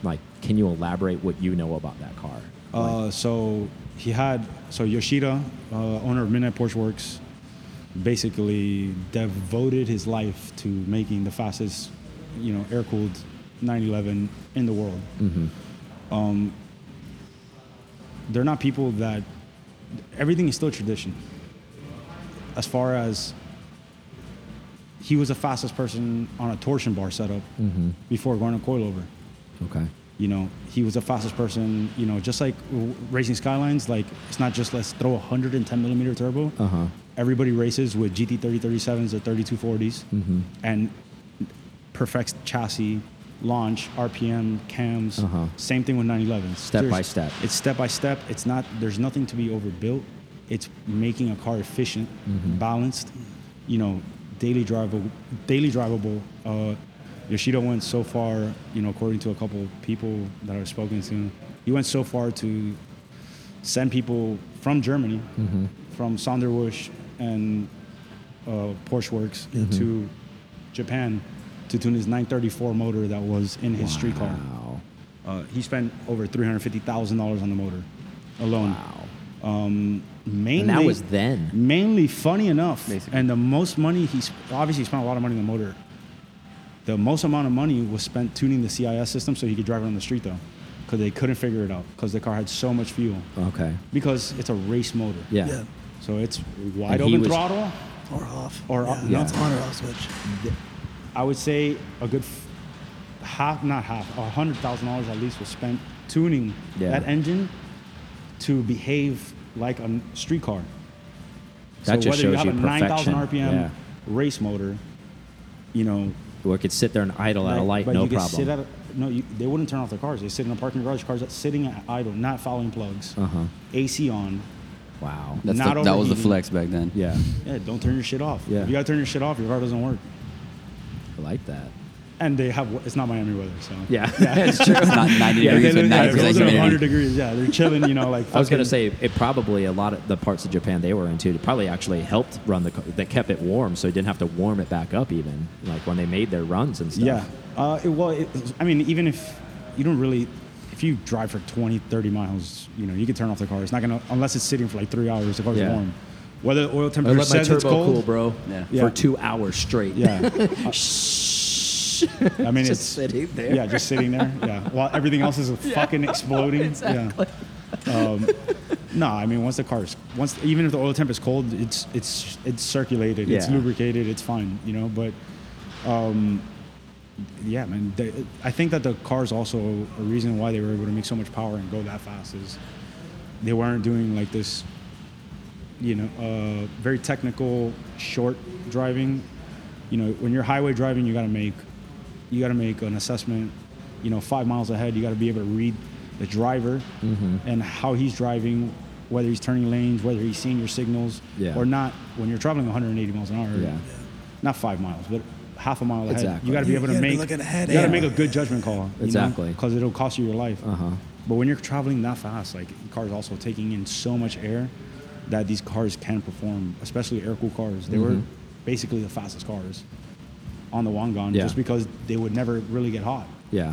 D: Like, can you elaborate what you know about that car?
C: Uh, so he had so Yoshida, uh, owner of Midnight Porsche Works, basically devoted his life to making the fastest, you know, air-cooled 911 in the world. Um, they're not people that everything is still tradition. As far as he was the fastest person on a torsion bar setup before going to coilover
D: Okay.
C: you know, he was the fastest person, you know, just like w- racing Skylines, like it's not just let's throw a 110 millimeter turbo.
D: Uh-huh.
C: Everybody races with GT 3037s or 3240s
D: Mm-hmm.
C: and perfects chassis, launch, RPM, cams.
D: Uh-huh.
C: Same thing with 911s.
D: Step by step.
C: It's step by step. It's not, there's nothing to be overbuilt. It's making a car efficient,
D: Mm-hmm.
C: balanced, you know, daily drivable, daily drivable. Uh, Yoshida went so far, you know, according to a couple people that I've spoken to, he went so far to send people from Germany,
D: Mm-hmm.
C: from Sonderwush and uh, Porsche Works
D: Mm-hmm.
C: to Japan to tune his 934 motor that was in his street car.
D: Wow.
C: Uh, he spent over three hundred fifty thousand dollars on the motor alone.
D: Wow.
C: Mainly,
D: And that was then.
C: mainly funny enough,
E: Basically.
C: and the most money he sp- obviously he spent a lot of money on the motor. The most amount of money was spent tuning the CIS system so he could drive it on the street though, because they couldn't figure it out because the car had so much fuel.
D: Okay.
C: Because it's a race motor.
D: Uh-huh. Yeah.
B: Yeah.
C: So it's wide
D: And he
C: open
D: was-
C: throttle.
B: Or off.
C: Or
B: yeah,
C: off-
B: no,
C: yeah.
B: it's on or off switch.
C: I would say a good f- half, not half, a hundred thousand dollars at least was spent tuning
D: Yeah.
C: that engine to behave like a n- street car.
D: That just
C: whether you
D: shows
C: have
D: you
C: a nine thousand RPM
D: perfection. Yeah.
C: race motor, you know,
D: Or it could sit there and idle at a
C: like-
D: light,
C: but
D: no
C: you could
D: problem.
C: Sit at a, no, you, they wouldn't turn off their cars. They sit in a parking garage. Cars that sitting at idle, not following plugs,
D: Uh-huh.
C: AC on.
D: wow.
E: That's
C: Not
E: the, that was the
C: overheating.
E: flex back then.
D: yeah.
C: Yeah, don't turn your shit off.
D: Yeah.
C: If you gotta turn your shit off, your car doesn't work.
D: I like that.
C: And they have it's not Miami weather, so
D: Yeah. That's true.
E: It's not 90
D: Yeah,
E: degrees
C: Yeah,
E: with
C: yeah,
E: 90
C: if it
E: percent
C: wasn't 100
E: humidity.
C: degrees. Yeah, they're chilling. You know, like
D: I was going to
C: fucking-
D: say it probably a lot of the parts of Japan they were into it probably actually helped run the co- that kept it warm so you didn't have to warm it back up even like when they made their runs and stuff.
C: Yeah. Uh, it, well, it, I mean, even if you don't really, if you drive for 20, 30 miles, you know, you can turn off the car. It's not gonna unless it's sitting for like three hours. The car's
D: Yeah.
C: warm. Whether the oil
D: I
C: temperature
D: let my
C: says
D: turbo
C: it's cold.
D: cool, bro,
E: Yeah.
D: for
C: Yeah.
D: two hours straight.
C: Yeah.
D: Shh.
C: I mean,
D: just
C: it's
D: sitting there.
C: yeah, just sitting there. Yeah. While everything else is fucking exploding. Yeah. Um, no, I mean once the car is once even if the oil temp is cold, it's it's it's circulated, it's
D: Yeah.
C: lubricated, it's fine, you know. But um, yeah, man, they, I think that the cars also a reason why they were able to make so much power and go that fast is they weren't doing like this, you know, uh, very technical short driving. You know, when you're highway driving, you got to make you got to make an assessment. You know, five miles ahead, you got to be able to read the driver
D: Mm-hmm.
C: and how he's driving, whether he's turning lanes, whether he's seeing your signals
D: Yeah.
C: or not. When you're traveling 180 miles an hour,
D: Yeah.
C: not five miles, but half a mile ahead,
D: Exactly.
C: you got to be
B: You-
C: able
B: you
C: to
B: gotta be
C: make
B: looking ahead
C: you got to
B: and-
C: make a good judgment call.
D: Exactly.
C: because it'll cost you your life.
D: Uh-huh.
C: But when you're traveling that fast, like the car's also taking in so much air that these cars can perform, especially air cooled cars. They were basically the fastest cars on the Wangan
D: Mm-hmm. Yeah.
C: just because they would never really get hot.
D: Yeah.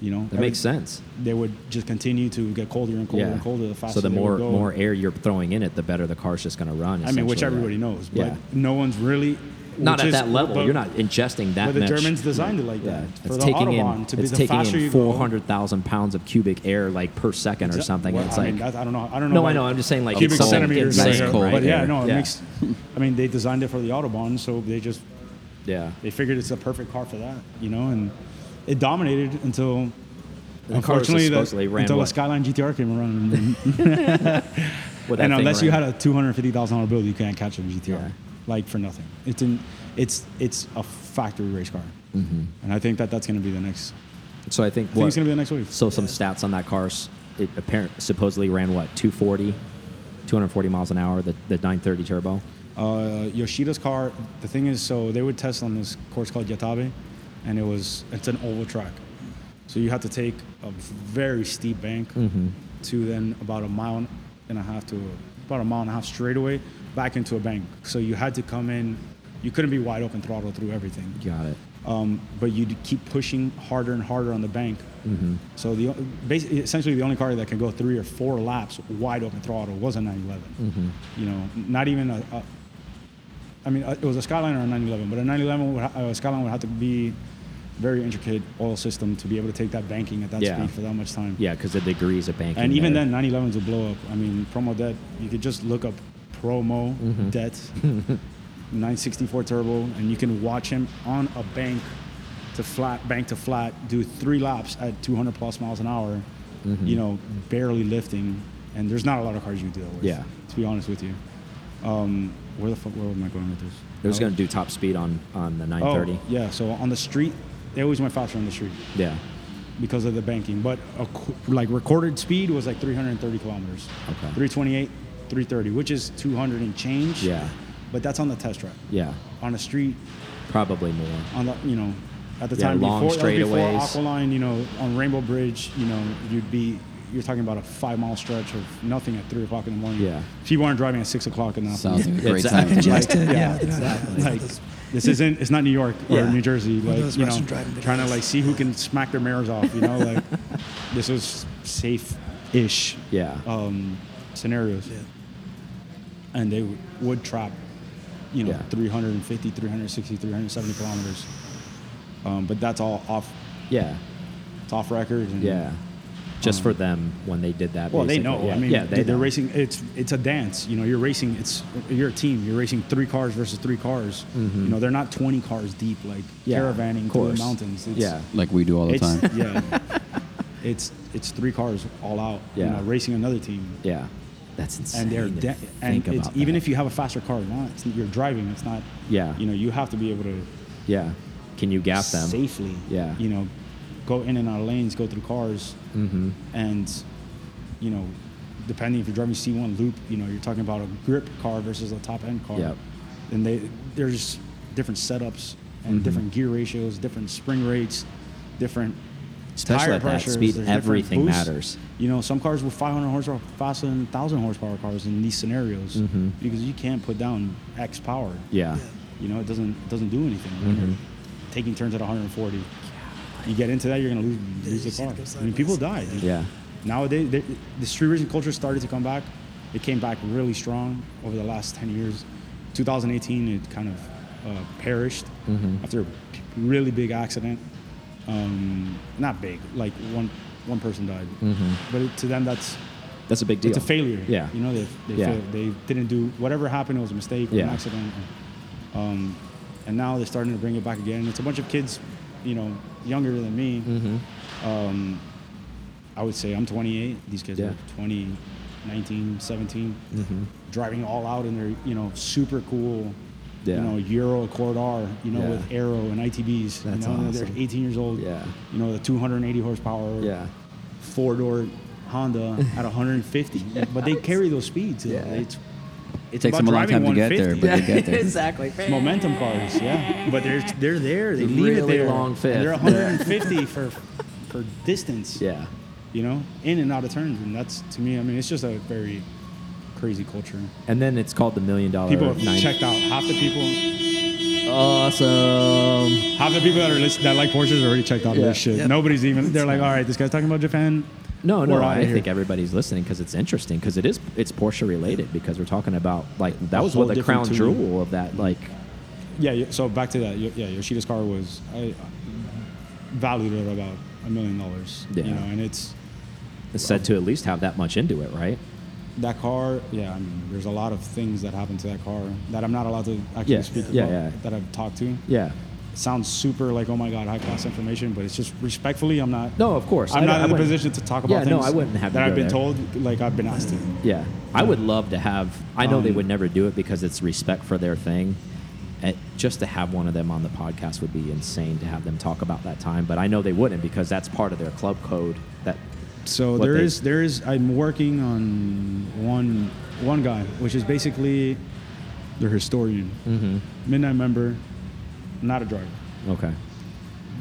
C: You know,
D: That makes sense.
C: They would just continue to get colder and colder
D: yeah.
C: and colder the
D: so
C: faster.
D: the
C: they would
D: more
C: go.
D: more air you're throwing in it, the better the car's just going to run.
C: I mean, which
D: essentially, right?
C: everybody knows, but
D: Yeah.
C: no one's really
D: Not
C: which
D: at
C: is-
D: that level.
C: but-
D: You're not ingesting that
C: But the
D: much.
C: Germans designed it like
D: Yeah,
C: that for
D: it's
C: the
D: taking
C: autobahn
D: in
C: to be
D: it's
C: the faster
D: taking
C: you
D: in
C: go-
D: four hundred thousand pounds of cubic air like per second or something.
C: Well,
D: and it's
C: I
D: like
C: mean, that's- I don't know. I don't know.
D: no,
C: why-
D: I know. I'm just saying like
C: cubic
D: it's something
C: centimeters,
D: insane,
E: is
C: like,
E: cold
C: but
D: right?
C: yeah, no, it makes. I mean, they designed it for the autobahn, so they just
D: yeah.
C: they figured it's the perfect car for that, you know, and it dominated until.
D: The cars
C: Unfortunately, the,
D: supposedly ran
C: until the
D: what?
C: Skyline GTR came around, and,
D: With that
C: and
D: thing
C: unless you
D: ran.
C: had a two hundred fifty thousand dollar bill, you can't catch a GTR
D: Yeah.
C: like for nothing.
D: Mm-hmm.
C: It's an, it's it's a factory race car, and I think that that's going to be the next
D: So I think
C: I think
D: what?
C: it's gonna be the next week.
D: so some stats on that car. s- It apparent supposedly ran what 240, 240 miles an hour. The the 930 turbo.
C: uh, Yoshida's car. The thing is, so they would test on this course called Yatabe, and it was it's an oval track, so you had to take a very steep bank to then about a mile and a half to about a mile and a half straightaway back into a bank. So you had to come in. You couldn't be wide open throttle through everything
D: Got it.
C: um, but you'd keep pushing harder and harder on the bank. So the basically, essentially the only car that can go three or four laps wide open throttle was a 911. You know, not even a. a I mean, a, it was a Skyline or a 911, but a 911 would ha- a Skyline would have to be very intricate oil system to be able to take that banking at that
D: Yeah.
C: speed for that much time.
D: Yeah, because the degrees of banking.
C: And even
D: there.
C: then, 911s would blow up. I mean, promo debt. You could just look up promo
D: Mm-hmm.
C: debt, 964 turbo, and you can watch him on a bank to flat, bank to flat, do three laps at 200 plus miles an hour.
D: Mm-hmm.
C: You know, barely lifting. And there's not a lot of cars you deal with.
D: Yeah.
C: To be honest with you, um, where the fuck where am I going with this?
D: it was going to do top speed on on the
C: Oh,
D: 930.
C: yeah. So on the street, they always went faster on the street
D: yeah.
C: because of the banking. But a, qu- like recorded speed was like 330 kilometers.
D: Okay.
C: 328, 330, which is 200 and change.
D: Yeah.
C: But that's on the test track.
D: Yeah.
C: On the street,
D: Probably more.
C: on the you know, at the
D: Yeah,
C: time
D: long
C: before that was before
D: straightaways.
C: Aqualine, you know, on Rainbow Bridge, you know, you'd be you're talking about a five mile stretch of nothing at three o'clock in the morning.
D: Yeah.
C: People aren't driving at six o'clock in the afternoon.
E: Sounds like a great
D: Exactly.
E: time. to
B: Just
C: Like,
B: to-
C: yeah,
B: yeah, they're not-
C: exactly.
B: yeah,
C: Like,
B: those-
C: this isn't. It's not New York or
B: Yeah.
C: New Jersey.
B: One of
C: Like
B: those
C: you know,
B: Russian driving
C: trying to
B: videos.
C: like see who can smack their mirrors off. You know, like this was safe-ish
D: Yeah.
C: um, scenarios,
B: Yeah.
C: and they w- would trap, you know,
D: Yeah.
C: 350, 360, 370 kilometers. Um, but that's all off.
D: yeah.
C: It's off record. And,
D: Yeah. Just for them when they did that.
C: Um, Well, they
D: basically.
C: know.
D: Yeah.
C: I mean,
D: yeah,
C: they, they're
D: know.
C: racing. It's it's a dance. You know, you're racing. It's you're a team. You're racing three cars versus three cars. You know, they're not 20 cars deep like
D: Mm-hmm. Yeah,
C: caravanning
D: of
C: through the
D: course.
C: mountains. It's,
D: Yeah.
E: Like we do all the
C: it's
E: time.
C: yeah. It's it's three cars all out. You
D: Yeah.
C: know, racing another team.
D: Yeah.
G: That's insane.
C: And they're
G: to
C: da- and
G: think
C: it's,
G: about
C: even
G: that.
C: if you have a faster car, or not it's, you're driving. It's not.
D: Yeah.
C: You know, you have to be able to
D: Yeah. Can you gap them?
C: safely.
D: Yeah.
C: You know, go in and out of lanes, go through cars,
D: Mm-hmm.
C: and you know, depending if you're driving C1 loop, you know, you're talking about a grip car versus a top end car.
D: Yep.
C: And they there's different setups
D: Mm-hmm.
C: and different gear ratios, different spring rates, different
D: Especially
C: tire
D: at that
C: pressures,
D: speed,
C: there's different
D: everything
C: boosts.
D: matters.
C: You know, some cars were 500 horsepower faster than 1,000 horsepower cars in these scenarios
D: Mm-hmm.
C: because you can't put down X power.
D: Yeah.
C: You know, it doesn't it doesn't do anything when you're taking turns at 140. You get into that, you're gonna lose, lose
B: just
C: the car.
B: gotta go
C: I mean, people die.
B: sideways.
C: dude.
D: Yeah.
C: Nowadays, the, the street racing culture started to come back. It came back really strong over the last 10 years. 2018, it kind of uh, perished after a really big accident. Um, not big, like one one person died. But it, to them, that's
D: That's a big deal.
C: it's a failure.
D: Yeah.
C: You know, they, they,
D: Yeah.
C: failed. they didn't do whatever happened. It was a mistake or an
D: Yeah.
C: accident. Um, and now they're starting to bring it back again. It's a bunch of kids, you know, younger than me.
D: Mm-hmm.
C: Um, I would say I'm 28. These kids
D: Yeah. Mm-hmm.
C: are 20, 19, 17, driving all out in their, you know, super cool,
D: Yeah.
C: you know, Euro Accord R, you know,
D: Yeah.
C: with aero and ITBs.
D: That's
C: you know, they're
D: awesome.
C: 18 years old.
D: Yeah.
C: You know, the 280 horsepower
D: Yeah.
C: four door Honda at 150, but they carry those speeds.
D: Yeah.
C: It's, it's
E: takes
C: about
E: them a long
C: driving
E: time to get there,
C: 150.
E: but they get there.
G: exactly.
C: It's momentum cars, yeah. But they're they're there. They
D: The
C: leave it
D: really
C: there.
D: long
C: And
D: fifth.
C: They're
D: Yeah.
C: 150 for for distance.
D: Yeah.
C: You know, in and out of turns, and that's to me. I mean, it's just a very crazy culture.
D: And then it's called the million dollar.
C: People have
D: nine-
C: checked out. Half the people,
D: Awesome.
C: half the people that are list, that like Porsches are already checked out
D: Yeah.
C: this shit.
B: Yeah.
C: Nobody's even. They're like, all right, this guy's talking about Japan.
D: No, no,
C: We're outta
D: I
C: here.
D: think everybody's listening because it's interesting because it is it's Porsche related because we're talking about like that
C: A
D: was what
C: whole
D: the crown
C: different tune.
D: jewel of that like
C: Yeah, yeah, so back to that. Yo- Yeah, Yoshida's car was I valued at about a million dollars. You
D: Yeah.
C: know, and it's
D: is said to at least have that much into it, right?
C: that car. Yeah, I mean, there's a lot of things that happened to that car that I'm not allowed to actually
D: Yeah,
C: speak
D: yeah,
C: about
D: yeah.
C: that I've talked to.
D: Yeah.
C: sounds super like oh my god, high class information, but it's just respectfully, I'm not.
D: No, of course.
C: I'm
D: I-
C: not
D: I
C: in the
D: wouldn't-
C: position to talk
D: Yeah,
C: about
D: no,
C: things
D: I wouldn't have to
C: that I've
D: go
C: been
D: there.
C: told. Like I've been asked to.
D: Yeah. I would love to have I know they
C: Um,
D: would never do it because it's respect for their thing at, just to have one of them on the podcast would be insane to have them talk about that time. But I know they wouldn't because that's part of their club code. That
C: So
D: what
C: there
D: they-
C: is there is I'm working on one one guy, which is basically the historian, mm-hmm. midnight member, not a driver,
D: okay.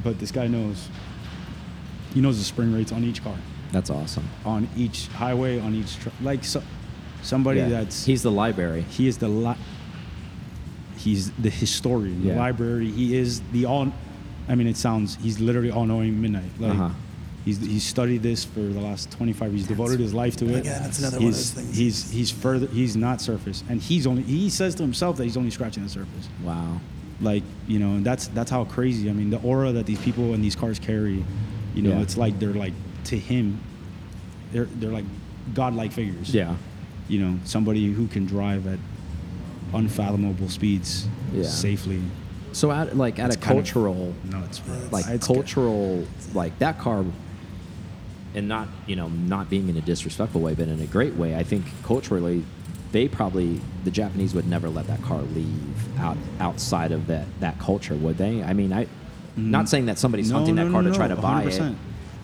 C: but this guy knows. He knows the spring rates on each car,
D: That's awesome.
C: on each highway, on each tr- like so, somebody
D: Yeah.
C: that's
D: he's the library.
C: he is the li- he's the historian, the
D: Yeah.
C: library. He is the all. I mean, it sounds he's literally all knowing midnight. Like
D: Uh-huh.
C: he's he's studied this for the last twenty five. He's devoted his life to it.
B: Again, that's another
C: he's,
B: one of those things.
C: He's he's further. He's not surface, and he's only he says to himself that he's only scratching the surface.
D: Wow.
C: Like you know, and that's that's how crazy. I mean, the aura that these people and these cars carry, you know,
D: Yeah.
C: it's like they're like to him, they're they're like godlike figures
D: Yeah.
C: you know, somebody who can drive at unfathomable speeds
D: Yeah.
C: safely.
D: So at like at a
C: kind of-
D: cultural
C: Nuts, bro.
D: like
C: It's good.
D: cultural like that car and not you know not being in a disrespectful way but in a great way i think culturally they probably the japanese would never let that car leave out outside of that that culture would they i mean i not saying that somebody's
C: Mm. No,
D: hunting
C: no,
D: that
C: no,
D: car
C: no,
D: to try to buy it
C: 100%.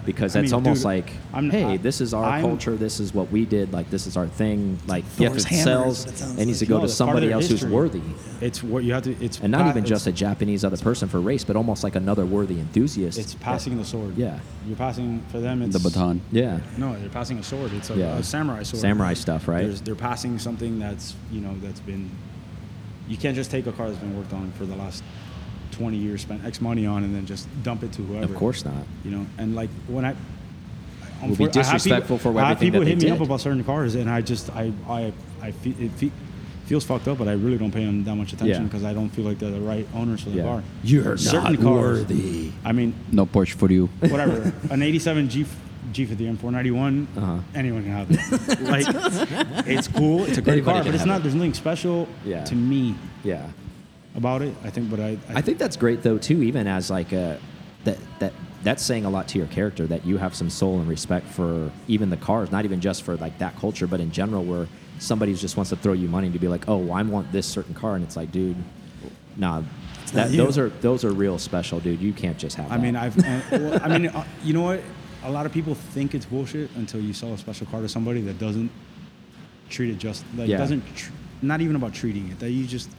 D: because
C: I
D: that's
C: mean,
D: almost
C: dude,
D: like
C: I'm-
D: hey
C: I-
D: this is our
C: I'm-
D: culture this is what we did like this is our thing like yes
B: Thor's
D: it
B: hammer is
D: sells
B: what it sounds
D: it needs to
B: like.
D: go
C: No,
D: to
C: that's part of
D: somebody
C: their
D: else
C: history.
D: who's worthy
C: It's what you have to. It's
D: and not
C: pa-
D: even just a
C: it's-
D: Japanese other person for race, but almost like another worthy enthusiast.
C: It's passing the sword.
D: Yeah.
C: you're passing for them. It's
E: the baton.
D: Yeah,
C: No, they're passing a sword. It's a,
D: Yeah.
C: a samurai sword.
D: Samurai stuff, right?
C: There's, they're passing something that's you know that's been. You can't just take a car that's been worked on for the last twenty years, spent X money on, and then just dump it to whoever.
D: of course not.
C: you know and like when i I-
D: Would be
C: unfor- I have
D: disrespectful
C: people,
D: for
C: I have
D: everything
C: people
D: that
C: hit
D: they
C: me up
D: did.
C: about certain cars and i just i i i feel it fe- feels fucked up but i really don't pay them that much attention
D: Yeah.
C: because i don't feel like they're the right owners for the
D: Yeah.
C: car
D: You're
C: certain
D: not
C: cars,
D: worthy.
C: i mean
E: No Porsche for you.
C: whatever an 87 g G50M 491,
D: Uh-huh.
C: anyone can have it. like, it's cool. It's a great
D: Anybody
C: car,
D: can
C: but it's
D: have
C: not.
D: it.
C: There's nothing special
D: Yeah.
C: to me
D: Yeah,
C: about it. I think, but I,
D: I think that's great though too. Even as like a that that that's saying a lot to your character that you have some soul and respect for even the cars, not even just for like that culture, but in general, where somebody just wants to throw you money to be like, oh, well, I want this certain car, and it's like, dude, nah, that,
C: you.
D: those are those are real special, dude. You can't just have.
C: I
D: that.
C: mean, I've. uh, well, I mean, uh, you know what? A lot of people think it's bullshit until you sell a special car to somebody that doesn't treat it just. Like,
D: Yeah.
C: doesn't. Tr- not even about treating it. That you just.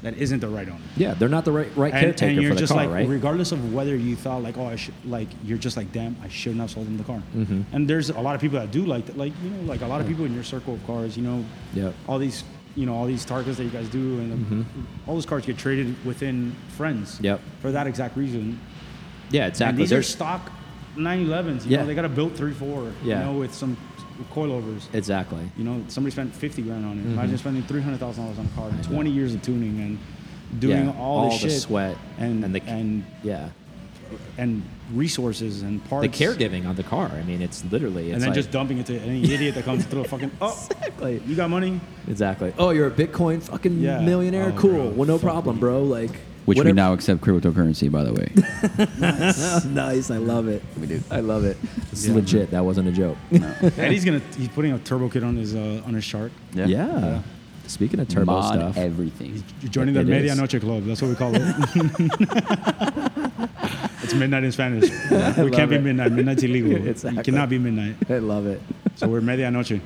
C: That isn't the right owner.
D: yeah, they're not the right right
C: And,
D: caretaker
C: and you're
D: for the
C: just
D: car,
C: like,
D: right?
C: regardless of whether you thought like, oh, I should like, you're just like, damn, I shouldn't have sold him the car.
D: Mm-hmm.
C: And there's a lot of people that do like that, like you know, like a lot of people in your circle of cars, you know,
D: Yep. Mm-hmm.
C: all these, you know, all these targets that you guys do, and all those cars get traded within friends.
D: Yep.
C: For that exact reason,
D: yeah, exactly.
C: and these are
D: There's-
C: stock 911s. You
D: Yeah.
C: know, they got a built 3.4,
D: Yeah.
C: you know, with some coilovers.
D: Exactly.
C: You know, somebody spent 50 grand on it.
D: Mm-hmm.
C: Imagine spending $300,000 on a car and 20 years of tuning and doing
D: Yeah,
C: all, this
D: the
C: shit.
D: sweat
C: and,
D: and the
C: and,
D: yeah
C: and resources and parts.
D: the caregiving of the car. I mean, it's literally it's
C: And then
D: like,
C: just dumping it to any idiot that comes through a fucking, oh,
D: Exactly.
C: you got money?
D: exactly. Oh, you're a Bitcoin fucking
C: Yeah.
D: millionaire.
C: Oh,
D: cool.
C: bro,
D: well, no
C: fuck
D: problem,
C: me.
D: bro. Like
E: Which
D: whatever.
E: we now accept cryptocurrency, by the way.
D: nice. I love it. We do. I love it. This
C: Yeah.
D: is legit. That wasn't a joke.
C: Eddie's going to, he's putting a turbo kit on his, uh, on his shark.
D: Yeah. Speaking of turbo
E: Mod
D: stuff,
E: everything.
C: You're joining the
D: It is.
C: Medianoche Club. That's what we call it. it's midnight in Spanish. We can't be
D: it.
C: midnight. Midnight's illegal.
D: Exactly.
C: It cannot be midnight.
D: I love it.
C: So we're Medianoche,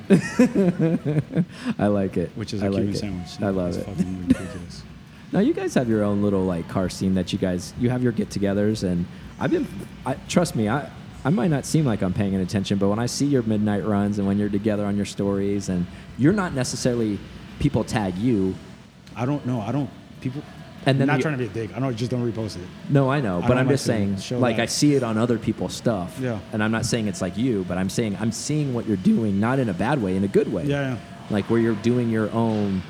D: I like it.
C: which is a
D: I like
C: Cuban
D: it.
C: sandwich.
D: I love
C: It's
D: it.
C: fucking ridiculous.
D: Now you guys have your own little like car scene that you guys you have your get-togethers, and I've been. I, trust me, I I might not seem like I'm paying attention, but when I see your midnight runs and when you're together on your stories, and you're not necessarily people tag you.
C: I don't know. I don't. People.
D: And
C: And
D: then
C: then not
D: the-
C: trying to be a dick. I don't just don't repost it.
D: No, I know,
C: I
D: but
C: don't
D: I'm
C: like
D: just
C: to
D: saying,
C: show
D: like
C: that.
D: I see it on other people's stuff.
C: Yeah.
D: And I'm not saying it's like you, but I'm saying I'm seeing what you're doing, not in a bad way, in a good way.
C: Yeah, yeah.
D: Like where you're doing your own,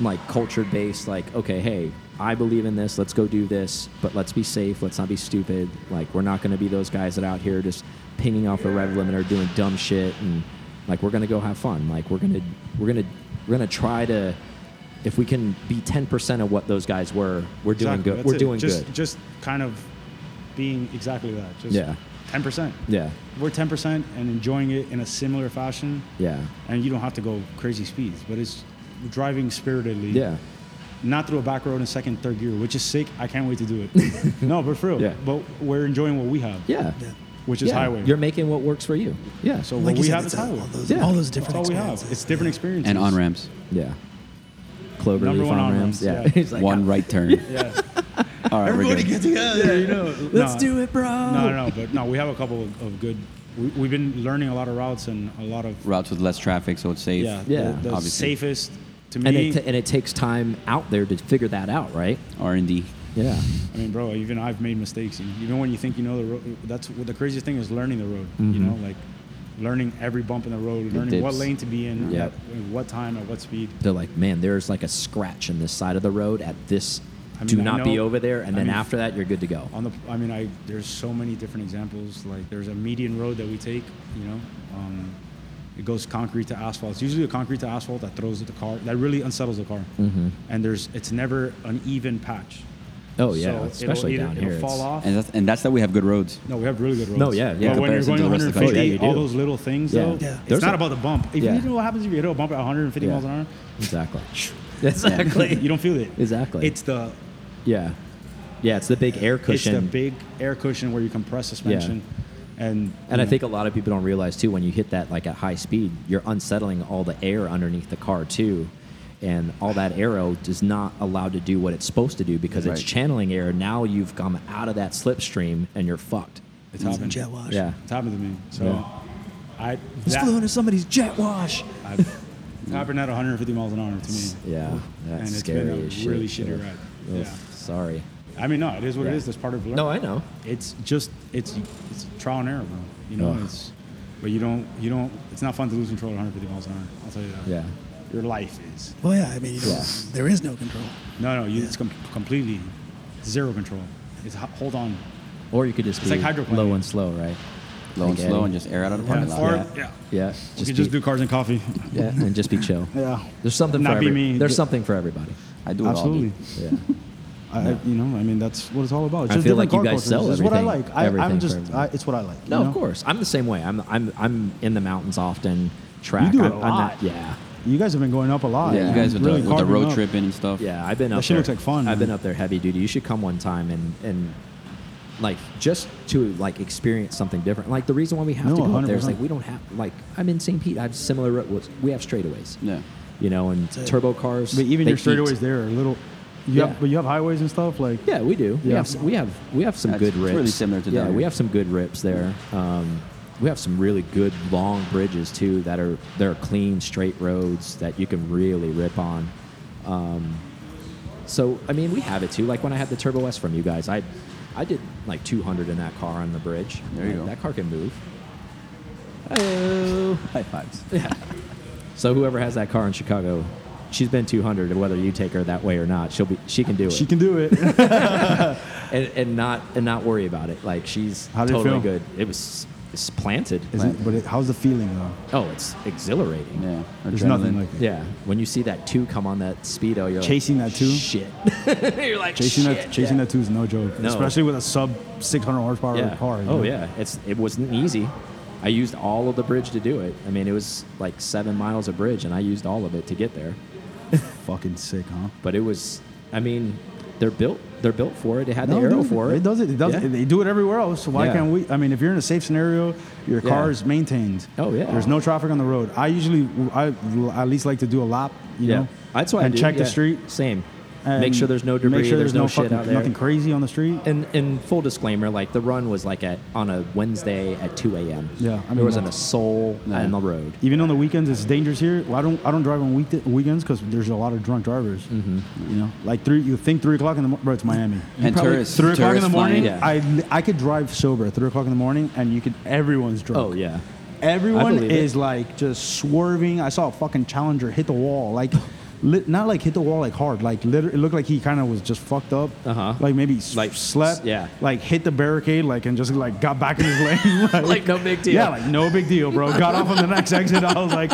D: like culture based, like okay, hey, I believe in this. Let's go do this, but let's be safe. Let's not be stupid. Like we're not going to be those guys that are out here just pinging off the red limiter, doing dumb shit, and like we're going to go have fun. Like we're gonna we're gonna we're gonna try to. If we can be ten percent of what those guys were, we're doing
C: Exactly.
D: good.
C: That's
D: We're
C: it.
D: doing
C: just,
D: good.
C: Just kind of being exactly that. Just
D: Yeah.
C: Ten percent.
D: Yeah.
C: We're ten percent and enjoying it in a similar fashion.
D: Yeah.
C: And you don't have to go crazy speeds, but it's driving spiritedly.
D: Yeah.
C: not through a back road in second, third gear, which is sick. I can't wait to do it. no, but for real.
H: Yeah.
C: But we're enjoying what we have,
D: Yeah.
B: Yeah.
C: which is
D: Yeah.
C: highway.
D: You're making what works for you. Yeah.
C: so
B: Like
C: what
B: you
C: we
B: said,
C: have
B: it's
C: is
B: all
C: highway.
B: those,
D: Yeah.
B: all those
C: That's
B: different
C: all we have.
B: experiences.
C: It's different experiences.
E: and on ramps.
D: yeah. Cloverleaf
C: Number one
D: on ramps.
C: on-ramps,
D: Yeah.
C: yeah.
D: He's like,
E: One right turn.
C: Yeah.
E: All right, we're
B: Everybody
E: good.
B: get together.
C: you know,
D: Let's
C: nah.
D: do it, bro.
C: No, no, but no, we have a couple of, of good. We, we've been learning a lot of routes and a lot of
E: Routes with less traffic, so it's safe.
C: yeah,
D: Yeah.
C: the, the
E: Obviously.
C: safest to
D: And
C: me.
D: it, and it takes time out there to figure that out, right?
E: R and D.
D: Yeah.
C: I mean, bro, even I've made mistakes. you know, Even when you think you know the road, that's what the craziest thing is learning the road. You
D: Mm-hmm.
C: know, like learning every bump in the road, learning what
E: dips.
C: lane to be in,
D: Yeah.
C: at, at what time, at what speed.
D: They're like, man, there's like a scratch in this side of the road at this.
C: I
D: do
C: mean, I
D: not be
C: know-
D: over there. And
C: I
D: then
C: mean-
D: after that, you're good to go.
C: On the, I mean, I there's so many different examples. Like there's a median road that we take. You know, um, it goes concrete to asphalt. It's usually the concrete to asphalt that throws at the car. That really unsettles the car.
D: Mm-hmm.
C: And there's it's never an even patch.
D: Oh, yeah.
C: So
D: especially
C: it'll,
D: down
C: either,
D: here.
C: It'll
D: it's-
C: fall off.
E: And that's and that's that we have good roads.
C: No, we have really good roads.
D: No, yeah, yeah.
C: But when you're
E: Comparison
C: going
E: to the rest of
C: 150,
E: the
D: country. Oh, yeah, you
C: all
D: do.
C: those little things,
D: Yeah.
C: though,
D: Yeah.
C: it's
D: There's
C: not
D: a-
C: about the bump. If
D: Yeah.
C: you know what happens if you hit a bump at 150
D: Yeah.
C: miles an hour,
D: Exactly. exactly.
C: you don't feel it.
D: Exactly.
C: It's the
D: Yeah. Yeah, it's the big air cushion.
C: it's the big air cushion where you compress suspension, and
D: and
C: you
D: I
C: know,
D: think a lot of people don't realize too when you hit that like at high speed, you're unsettling all the air underneath the car too. And all that aero is not allowed to do what it's supposed to do because it's
E: Right.
D: channeling air. Now you've come out of that slipstream and you're fucked.
C: it's happened.
B: Jet wash.
D: Yeah.
C: It's happened to me. So
D: Yeah.
C: I
B: Just
C: that,
B: flew into somebody's jet wash.
C: I've- it's happened at 150 miles an hour to me,
D: Yeah. That's
C: and it's
D: scary.
C: been a
D: as shit.
C: really shitty
D: Ugh.
C: ride.
D: Ugh.
C: Yeah.
D: Sorry.
C: I mean, no, it is what it
D: Yeah.
C: is. That's part of learning.
D: No, I know.
C: it's just it's it's trial and error, bro. You know,
D: Ugh.
C: it's but you don't you don't. It's not fun to lose control at 150 miles an hour. I'll tell you that.
D: Yeah.
C: Your life is
B: Well, yeah, I mean, you know,
D: Yeah.
B: there is no control.
C: no no. You, It's com- completely zero control. It's ho- hold on.
D: Or you could just
C: It's
D: be
C: like hydroplaning.
D: low and slow, right?
E: Low and
D: Like
E: slow,
D: Eddie.
E: and just air out of the parking
C: Yeah.
E: lot.
C: Or-
E: Yeah.
C: yeah.
D: Yeah.
C: We could
D: be-
C: just do cars and coffee.
D: Yeah, and just be chill.
C: Yeah.
D: There's something
C: Not
D: for
C: be
D: every,
C: me.
D: There's
C: Ju-
D: something for everybody.
E: I do it all.
C: Absolutely.
E: dude.
D: Yeah.
C: I, I- you know, I mean, that's what it's all about. It's
D: I
C: just
D: feel like
C: different
D: you
C: car
D: guys sell
C: cultures. It's what I
D: everything-
C: like. I,
D: everything
C: I'm
D: for
C: just,
D: everyone.
C: I, it's what I like. you
D: No,
C: know?
D: of course. I'm the same way. I'm I'm I'm in the mountains often. Track.
C: do
D: I-
C: a
D: I'm not-
C: lot.
D: yeah.
C: You guys have been going up a lot.
E: Yeah, you guys with,
C: Really
E: the, with the
C: carving
E: road
C: up.
E: tripping and stuff.
D: Yeah, I've been
C: That
D: up.
C: shit
D: there.
C: looks like fun,
D: I've been
C: man.
D: up there heavy duty. You should come one time and and like just to like experience something different. Like the reason why we have
C: No,
D: to go up there is
C: 100%.
D: like we don't have like I'm in St. Pete. I have similar roads. We have straightaways.
E: Yeah.
D: You know, and
B: it.
D: turbo cars.
C: But even
D: they
C: your straightaways
D: eat.
C: there are little. You
D: Yeah.
C: have, but you have highways and stuff like.
D: Yeah, we do. We
C: Yeah.
D: have s- we have we have some
E: That's-
D: good
E: it's
D: rips.
E: really similar to
D: yeah.
E: down
D: We
E: here.
D: have some good rips there. Um, we have some really good long bridges too that are they're clean straight roads that you can really rip on. Um, so I mean, we have it too. Like when I had the Turbo S from you guys, I I did like 200 in that car on the bridge.
E: There you go.
D: That car can move. Oh.
E: High fives.
D: So whoever has that car in Chicago, she's been 200, and whether you take her that way or not, she'll be she can do it
C: She can do it.
D: and, and not and not worry about it. Like she's
C: How did it
D: totally
C: feel?
D: good. It was it's planted.
C: Is it, but it, how's the feeling though?
D: oh, it's exhilarating.
E: Yeah.
C: There's
E: adrenaline.
C: nothing like it.
D: Yeah. When you see that two come on that speedo, you're
C: Chasing
D: like,
C: that two?
D: Shit. you're like
C: Chasing
D: shit.
C: that, chasing
D: yeah.
C: that two is no joke.
D: No.
C: Especially with a sub 600 horsepower
D: Yeah.
C: car. you
D: oh
C: know?
D: yeah. It's it wasn't easy. I used all of the bridge to do it. I mean, it was like seven miles of bridge, and I used all of it to get there.
C: Fucking sick, huh?
D: But it was, I mean, they're built. They're built for it. It had
C: No,
D: the arrow
C: dude,
D: for it.
C: It does it. It does
D: Yeah.
C: it. They do it everywhere else. So why
D: Yeah.
C: can't we? I mean, if you're in a safe scenario, your
D: Yeah.
C: car is maintained.
D: Oh, yeah.
C: There's no traffic on the road. I usually, I l- at least like to do a lap. You
D: yeah.
C: know,
D: That's why I
C: and
D: do,
C: check
D: yeah.
C: the street.
D: Same.
C: and
D: make sure there's no debris.
C: Make sure
D: there's,
C: there's,
D: no,
C: fucking,
D: shit out there.
C: Nothing crazy on the street.
D: And and full disclaimer, like the run was like at on a Wednesday at two a.m.
C: Yeah, I mean,
D: there wasn't a
C: that's-
D: soul
E: Yeah.
D: on the road.
C: Even on the weekends, it's dangerous here. Well, I don't, I don't drive on week, weekends because there's a lot of drunk drivers.
D: Mm-hmm.
C: You know, like three. You think three o'clock in the morning, bro? It's Miami. You
E: And
C: probably-
E: tourists-
C: Three o'clock in the
E: tourists
C: morning.
E: flying.
C: I, I could drive sober at three o'clock in the morning, and you could. Everyone's drunk.
D: Oh yeah, I
C: Everyone
D: believe it.
C: is like just swerving. I saw a fucking Challenger hit the wall, like lit, not like hit the wall like hard, like liter- it looked like he kind of was just fucked up,
D: Uh-huh.
C: like maybe s-
D: Like,
C: slept,
D: yeah.
C: like hit the barricade, like and just like got back in his lane, like,
D: Like, no big deal.
C: yeah, like no big deal, bro. got off on the next exit. I was like,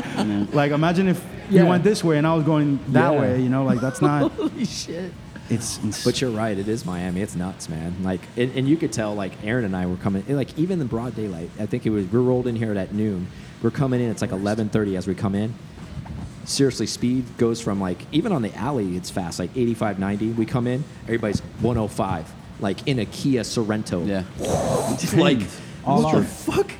C: like imagine if
D: Yeah.
C: you went this way and I was going that
D: Yeah.
C: way, you know, like that's not.
D: holy shit.
C: It's, it's
D: But you're right. It is Miami. It's nuts, man. Like, and, and you could tell. Like, Aaron and I were coming. and, Like, even in broad daylight, I think it was. We rolled in here at noon. We're coming in. It's like 11:30 as we come in. seriously, speed goes from like even on the alley, it's fast, like 85, 90. We come in, everybody's 105, like in a Kia Sorrento.
E: Yeah.
D: like
C: All
D: what the
C: out.
D: fuck?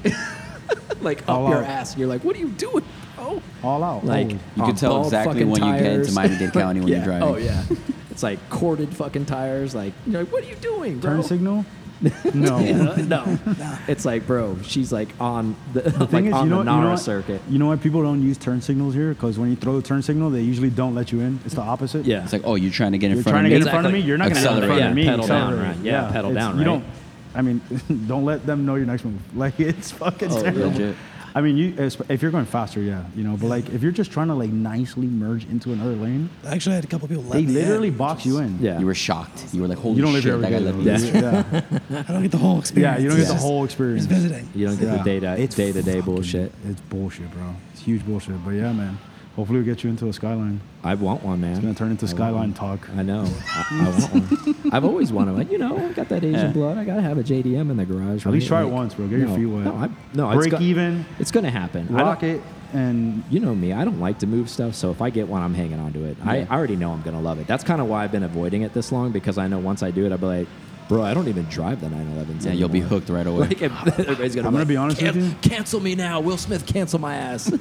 D: like up
C: All
D: your
C: out.
D: ass. And you're like, what are you doing? Oh,
C: All out.
D: like
C: Oh.
E: You could
D: on
E: tell
D: bald
E: exactly
D: fucking
E: when you get into
D: tires.
E: Miami-Dade County when you're
D: Yeah.
E: driving.
D: Oh yeah, it's like corded fucking tires. Like you're like, what are you doing, bro?
C: turn signal? No.
D: Yeah, no, it's like, bro, she's like on the, like
C: Thing is,
D: on
C: you know,
D: the
C: you know
D: Nara
C: what-
D: circuit.
C: You know why people don't use turn signals here? Because when you throw the turn signal, they usually don't let you in. It's the opposite.
D: Yeah,
E: It's like, oh, you're trying to get in
C: You're
E: front
C: trying to
E: of
C: get
E: me.
C: in front of me.
D: Exactly.
C: You're not going to get in front
E: Accelerate.
C: of me.
D: Yeah, pedal down,
C: Accelerate.
D: right. Yeah, pedal
C: it's-
D: down,
C: You
D: right.
C: don't. I mean, don't let them know your next move. Like it's fucking
D: Oh,
C: terrible.
E: legit.
C: I mean, you if if you're going faster, yeah, you know. But like, if you're just trying to like nicely merge into another lane,
B: I actually had a couple people let
C: they
B: me
C: literally
B: in.
C: box you in.
D: yeah.
E: You were shocked. You were like, holy
C: You don't live
E: shit,
C: here
E: that guy
C: every
E: let
C: day.
E: me.
D: That's-
E: in.
C: though. Yeah.
B: I don't get the whole experience.
C: Yeah, you don't get
B: It's
C: the
B: just-
C: whole
B: It's
C: experience.
B: visiting.
D: you don't get
C: Yeah.
D: the day to day to day bullshit.
C: It's bullshit, bro. It's huge bullshit. But yeah, man. Hopefully, we get you into a skyline.
D: I want one, man. It's
C: gonna turn into Skyline talk.
D: I know. I, I want one. I've always wanted one. You know, I've got that Asian
E: Yeah.
D: blood. I gotta have a JDM in the garage.
C: At least
D: right?
C: try it
D: Like,
C: once, bro. Get your
D: no,
C: feet wet.
D: No, I, no it's
C: break
D: go-
C: even,
D: It's gonna happen. I don't-
C: rock it, and
D: you know me, I don't like to move stuff, so if I get one, I'm hanging on to it. I, I already know I'm gonna love it. That's kind of why I've been avoiding it this long because I know once I do it, I'll be like, bro, I don't even drive the 911.
E: Yeah, you'll be hooked right away.
D: Like, everybody's gonna
C: I'm gonna
D: like,
C: be honest with
D: "Can-
C: you."
D: Cancel me now, Will Smith. Cancel my ass.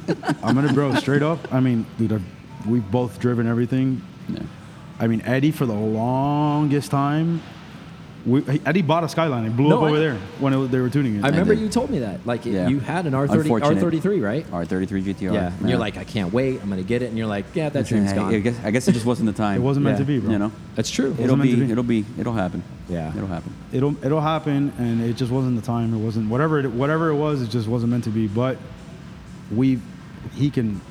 C: I'm gonna bro straight up. I mean, dude, I've, we've both driven everything.
E: Yeah.
C: I mean, Eddie for the longest time. We, he- Eddie bought a Skyline. It blew
D: No,
C: up
D: I-
C: over there when it, was- they were tuning it.
D: I remember
E: did.
D: you told me that. Like,
E: Yeah.
D: you had an R30,
E: Unfortunate.
D: R33, right?
E: R33 GTR.
D: Yeah. And you're like, I can't wait. I'm gonna get it, and you're like, yeah, that dream's
E: Hey,
D: gone.
E: I guess, I guess it just wasn't the time.
C: it wasn't meant
D: Yeah.
C: to be, bro.
E: You know,
D: That's true.
E: it'll
C: meant to
E: be,
C: be.
E: it'll be, it'll happen.
D: Yeah.
E: it'll happen.
C: It'll it'll happen, and it just wasn't the time. It wasn't whatever it, whatever it was. It just wasn't meant to be. But we, he can.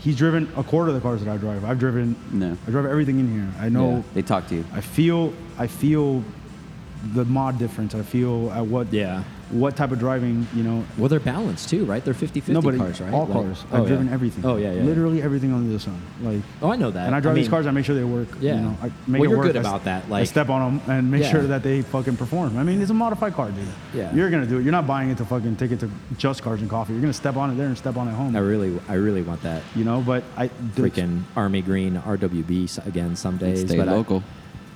C: He's driven a quarter of the cars that I drive. I've driven.
E: No.
C: I drive everything in here. I know.
E: Yeah. They talk to you.
C: I feel I feel the mod difference. I feel at what
D: Yeah.
C: what type of driving you know.
D: Well, they're balanced too, right? They're 50 50
C: Nobody,
D: cars, right?
C: all
D: Like-
C: cars.
D: Oh,
C: I've
D: yeah.
C: driven everything.
D: Oh, yeah, yeah. yeah.
C: Literally everything under the sun. Like,
D: Oh, I know that.
C: and I drive
D: mean-
C: these cars. I make sure they work.
D: Yeah.
C: you know, I
D: Well,
C: make it
D: you're
C: work.
D: good
C: I s-
D: about that,
C: I
D: like-
C: step on them and make
D: Yeah.
C: sure that they fucking perform. I mean, it's a modified car, dude.
D: Yeah.
C: you're gonna do it. You're not buying it to fucking take it to just cars and coffee. You're gonna step on it there and step on it home.
D: I really, I really want that.
C: you know, but I
D: freaking Army Green RWB s- again some days.
E: stay
D: but I-
E: local.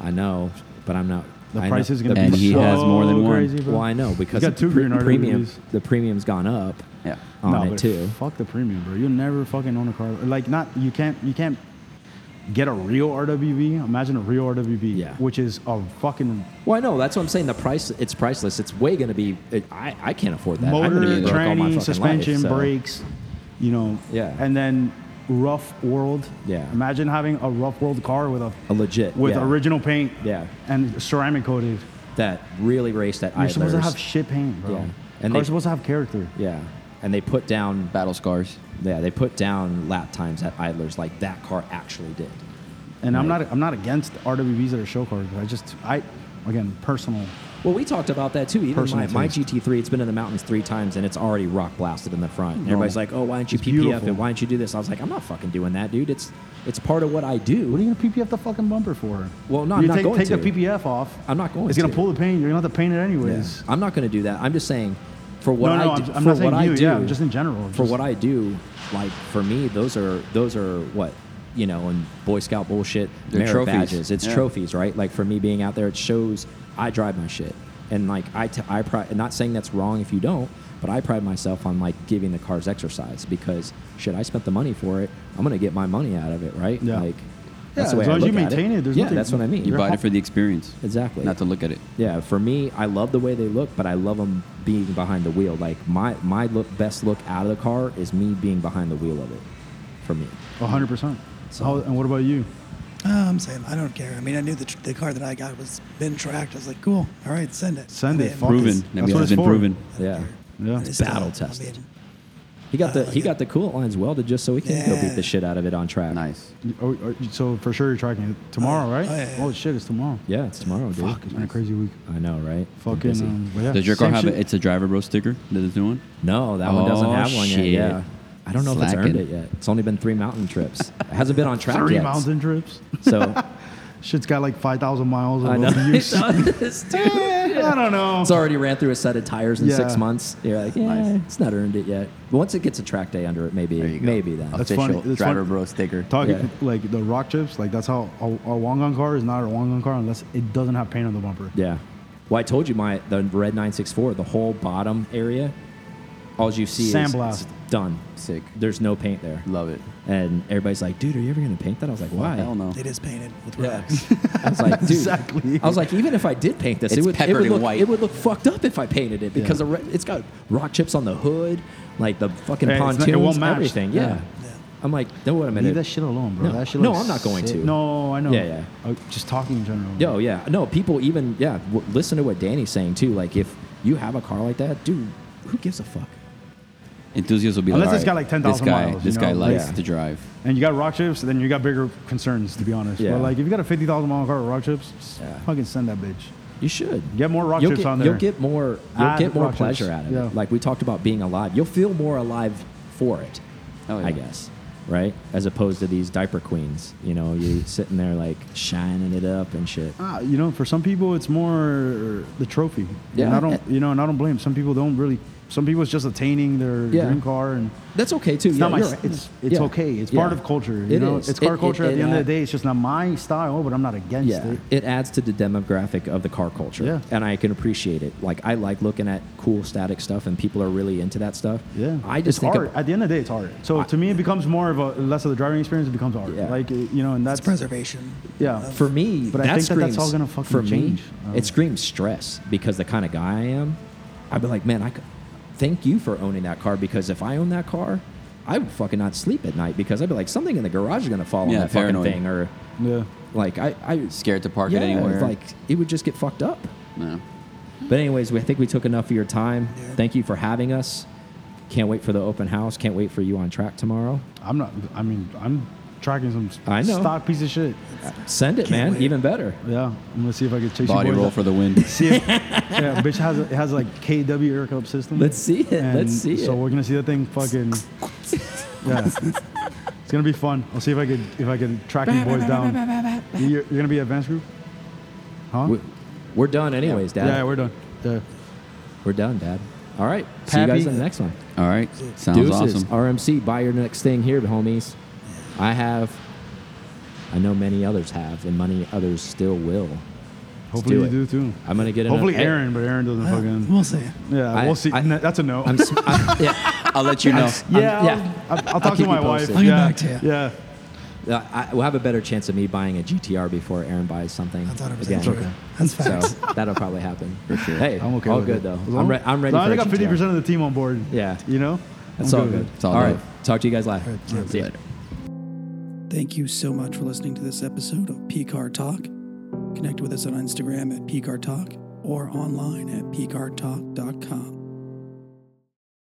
D: I, know, but I'm not.
C: The
D: I
C: price
D: know,
C: is gonna
D: the-
C: be
E: And he
C: so
E: has more than one.
C: crazy, bro.
D: Well, I know because
C: got two
D: the pre-
C: green
D: premium.
C: RWBs.
D: The premium's gone up
E: Yeah.
D: on
C: no,
D: it
C: but
D: too.
C: Fuck the premium, bro. You'll never fucking own a car like not. You can't. You can't get a real RWB. Imagine a real RWB,
D: Yeah.
C: which is a fucking
D: Well, I know that's what I'm saying. The price, it's priceless. It's way going to be. It, I I can't afford that. I'm
C: motor,
D: gonna be broke all my
C: tranny,
D: fucking
C: suspension,
D: life, so-
C: brakes. You know.
D: Yeah.
C: And then rough world.
D: Yeah.
C: Imagine having a rough world car with a,
D: A legit
C: with
D: yeah,
C: original paint.
D: Yeah.
C: And ceramic coated.
D: that really raced at
C: You're
D: idlers.
C: supposed to have shit paint, bro.
D: Yeah. And
C: And
D: they-
C: Cars supposed to have character.
D: yeah, and they put down.
E: Battle scars.
D: Yeah, they put down lap times at idlers like that car actually did.
C: And I'm not. I'm not against RWBs that are show cars. I just. I. Again, personal.
D: Well, we talked about that too. Even my,
C: Personal
D: my
C: taste.
D: GT3, it's been in the mountains three times and it's already rock blasted in the front. And everybody's like, "Oh, why didn't you
C: It's
D: PPF
C: beautiful.
D: it? Why didn't you do this?" I was like, "I'm not fucking doing that, dude. It's it's part of what I do."
C: What are you gonna PPF the fucking bumper for?
D: Well, no,
C: you
D: I'm not
C: take,
D: going
C: take
D: to.
C: the PPF off.
D: I'm not going
C: It's gonna
D: to.
C: pull the paint. You're gonna have to paint it anyways.
D: I'm not going to do that. I'm just saying, for what
C: No, no,
D: I
C: I'm-
D: do,
C: I'm
D: for
C: not saying
D: what
C: you,
D: I do,
C: yeah, just in general,
D: For
C: just-
D: what I do, like for me, those are those are what you know, and Boy Scout bullshit,
E: They're
D: merit
E: trophies.
D: badges. It's
E: Yeah.
D: trophies, right? Like for me being out there, it shows I drive my shit, and like I, t- I pri- not saying that's wrong if you don't, but I pride myself on like giving the cars exercise because shit, I spent the money for it. I'm gonna get my money out of it, right?
C: Yeah.
D: Like
C: Yeah,
D: that's the way
C: as
D: I
C: long as you
D: look at
C: maintain it, there's
D: yeah,
C: nothing-
D: that's what I mean.
E: You
C: You're
E: bought
C: hot-
E: it for the experience.
D: Exactly.
E: Not to look at it.
D: Yeah, for me, I love the way they look, but I love them being behind the wheel. Like my my look, best look out of the car is me being behind the wheel of it. For me,
C: hundred percent. So, and what about you?
B: Uh, I'm saying I don't care. I mean, I knew the, tr- the car that I got was been tracked. I was like, cool. All right, send it.
C: Send
B: I
C: it.
B: mean,
C: Fuck
E: Proven.
C: That's
E: I mean,
C: what
E: it's
C: it's
E: been
C: for.
E: proven.
D: yeah,
C: Yeah.
B: it's still-
D: battle
B: I
D: tested.
B: mean,
D: he got the
B: Uh,
D: he
B: yeah.
D: got the coolant lines welded just so he can go
B: Yeah.
D: beat the shit out of it on track.
E: Nice.
C: Oh, oh, so for sure you're tracking it tomorrow,
B: Oh,
C: right?
B: oh, yeah, yeah.
C: Oh shit, it's tomorrow.
D: Yeah, it's tomorrow, dude.
C: Fuck, it's been a crazy week.
D: I know, right? Been
C: Fucking.
D: busy.
C: Um, but yeah.
E: Does your car
C: Same
E: have
C: shit.
E: a, it's a driver bro sticker? Does it new one?
D: No, that one doesn't
E: Oh,
D: have one
E: shit.
D: yet. Yeah. I don't know if it's earned
E: Slacking.
D: it yet. It's only been three mountain trips. It hasn't been on track
C: Three
D: yet.
C: mountain trips.
D: So
C: Shit's got like five thousand miles. Of
D: I know.
C: use.
D: It does, dude.
C: I don't know.
D: It's already ran through a set of tires in six
C: Yeah.
D: months. You're like, yeah, it's not earned it yet. But once it gets a track day under it, maybe,
I: There you go.
D: maybe then.
C: That's
I: Official
C: funny. That's
I: driver
C: funny.
I: bro sticker.
C: Talking
D: Yeah.
C: like the rock chips, like that's how a, a Wangan car is not a Wangan car unless it doesn't have paint on the bumper.
D: Yeah. Well, I told you my the red 964, the whole bottom area, all you see is
C: Sandblast.
D: it's done.
I: Sick.
D: There's no paint there.
I: Love it.
D: And everybody's like, dude, are you ever going to paint that? I was like, why?
E: Hell
C: Oh.
E: no.
B: It is painted with
D: Yeah.
B: rocks.
D: I was like, dude.
C: Exactly.
D: I was like, even if I did paint this, it
I: It's
D: would, it
I: peppered
D: would
I: in
D: look
I: white.
D: it would look fucked up if I painted it because
C: Yeah.
D: the re- it's got rock chips on the hood, like the fucking
C: Yeah, it's not- it
D: pontoons,
C: won't match.
D: everything. Yeah.
C: Yeah.
B: Yeah.
D: I'm like, no, wait a
C: Leave that
D: minute.
C: shit alone, bro.
D: No.
C: That shit
D: No,
C: looks
D: I'm not going
C: sick.
D: to.
C: No, I know.
D: Yeah, yeah.
C: Uh, just talking in general.
D: Yo, yeah, no, people even yeah w- listen to what Danny's saying too. Like, if you have a car like that, dude, who gives a fuck?
E: Enthusiasts will be
C: Unless
E: like,
C: it's got
E: "All
C: like
E: right, this
C: 10,000
E: guy-
C: miles,
E: This
C: you
E: guy
C: know?
E: likes
D: Yeah.
E: to drive.
C: And you got rock chips, then you got bigger concerns, to be honest.
D: Yeah.
C: But like, if you got a 50,000 mile car with rock chips, s-
D: Yeah.
C: fucking send that bitch.
D: You should
C: Get more rock
D: you'll
C: chips
D: get,
C: on
D: You'll
C: there.
D: get more. You'll
C: Add
D: get more
C: rock chips.
D: pleasure out of
C: Yeah.
D: it. Like we talked about being alive. You'll feel more alive for it.
E: Oh, yeah.
D: I guess. Right, as opposed to these diaper queens, you know, you sitting there like shining it up and shit.
E: Uh,
C: Ah, you know, for some people, it's more the trophy.
D: Yeah.
C: And I don't, you know, and I don't blame. Some people don't really. Some people it's just attaining their
D: Yeah.
C: dream car, and
D: That's okay too.
C: it's
D: yeah,
C: not my.
D: you're
C: s-
D: right.
C: It's it's
D: Yeah.
C: okay. It's
D: Yeah.
C: part of culture. You
D: It
C: know,
D: is.
C: it's car
D: It-
C: culture.
D: it-
C: at the
D: it
C: end of
D: add-
C: the day, it's just not my style, but I'm not against
D: yeah,
C: it.
D: it adds to the demographic of the car culture.
C: Yeah.
D: And I can appreciate it. Like I like looking at cool static stuff and people are really into that stuff.
C: Yeah,
D: I just
C: it's
D: think
C: art.
D: ab-
C: At the end of the day, it's art. So to me, it becomes more of a less of the driving experience. It becomes art.
D: Yeah.
C: Like uh, you know, and that's
B: It's preservation. Um,
C: Yeah.
B: of-
D: for me,
C: But I
D: that
C: think that
D: screams,
C: that's all gonna fucking
D: for me,
C: change. Um, I don't-
D: It screams stress because the kind of guy I am, I'd be like, man, I could, thank you for owning that car because if I own that car, I would fucking not sleep at night because I'd be like, something in the garage is gonna fall
E: Yeah,
D: on that
E: paranoid.
D: fucking thing or
C: yeah.
D: like I, I
E: Scared to park
D: yeah,
E: it anywhere.
D: Like it would just get fucked up.
E: no.
D: But anyways, we, I think we took enough of your time.
B: Yeah.
D: Thank you for having us. Can't wait for the open house. Can't wait for you on track tomorrow.
C: I'm not. I mean, I'm tracking some s-
D: I know.
C: stock piece of shit.
D: Send it, man.
B: Can't wait.
D: Even better.
C: Yeah, I'm gonna see if I can chase
E: Body
C: you boys
E: roll
C: up.
E: for the win.
C: See if, yeah, bitch has it has like KW air cup system.
D: Let's see it.
C: And
D: Let's see
C: So
D: it.
C: we're gonna see that thing fucking. Yeah, it's gonna be fun. I'll see if I could if I can track you boys down. You're, you're gonna be advanced group, huh?
D: We- We're done, anyways, Dad.
C: yeah, we're done. Yeah.
D: We're done, Dad. All right. See you guys
C: Pappy.
D: in the next one.
E: All right. Sounds
D: Deuces.
E: awesome.
D: RMC, buy your next thing here, homies. I have. I know many others have, and many others still will.
C: Hopefully
D: do
C: you
D: it.
C: do too.
D: I'm gonna get.
C: Hopefully
D: another,
C: Aaron, but Aaron doesn't
B: Uh,
C: fucking.
B: we'll see.
C: Yeah,
D: I-
C: we'll see.
D: I-
C: No, that's a no.
D: I'm, s- I'm- yeah,
E: I'll let you know.
C: yeah,
D: yeah.
C: I'll, I'll, I'll
D: I'll
C: talk
D: keep
C: to
D: you
C: my wife.
D: posted.
B: I'll get
C: yeah,
B: back to you.
C: yeah.
D: Uh, I, I will have a better chance of me buying a GTR before Aaron buys something.
B: That's 100%
D: again.
B: true. That's
D: So
B: facts.
D: that'll probably happen. For sure. Hey,
C: I'm okay.
D: all
C: with
D: good
C: it.
D: though.
C: As
D: I'm,
C: long-
D: re- I'm
C: as
D: ready for
C: long as I
D: a
C: got 50
D: GTR.
C: percent of the team on board.
D: Yeah.
C: you know,
D: That's
C: I'm
D: all
C: with
D: good.
C: it.
E: all
D: all
E: good.
D: right. Talk to you guys later.
B: Yeah.
D: See ya.
B: Thank you so much for listening to this episode of PCAR Talk. Connect with us on Instagram at PCAR Talk or online at PCARTalk.com.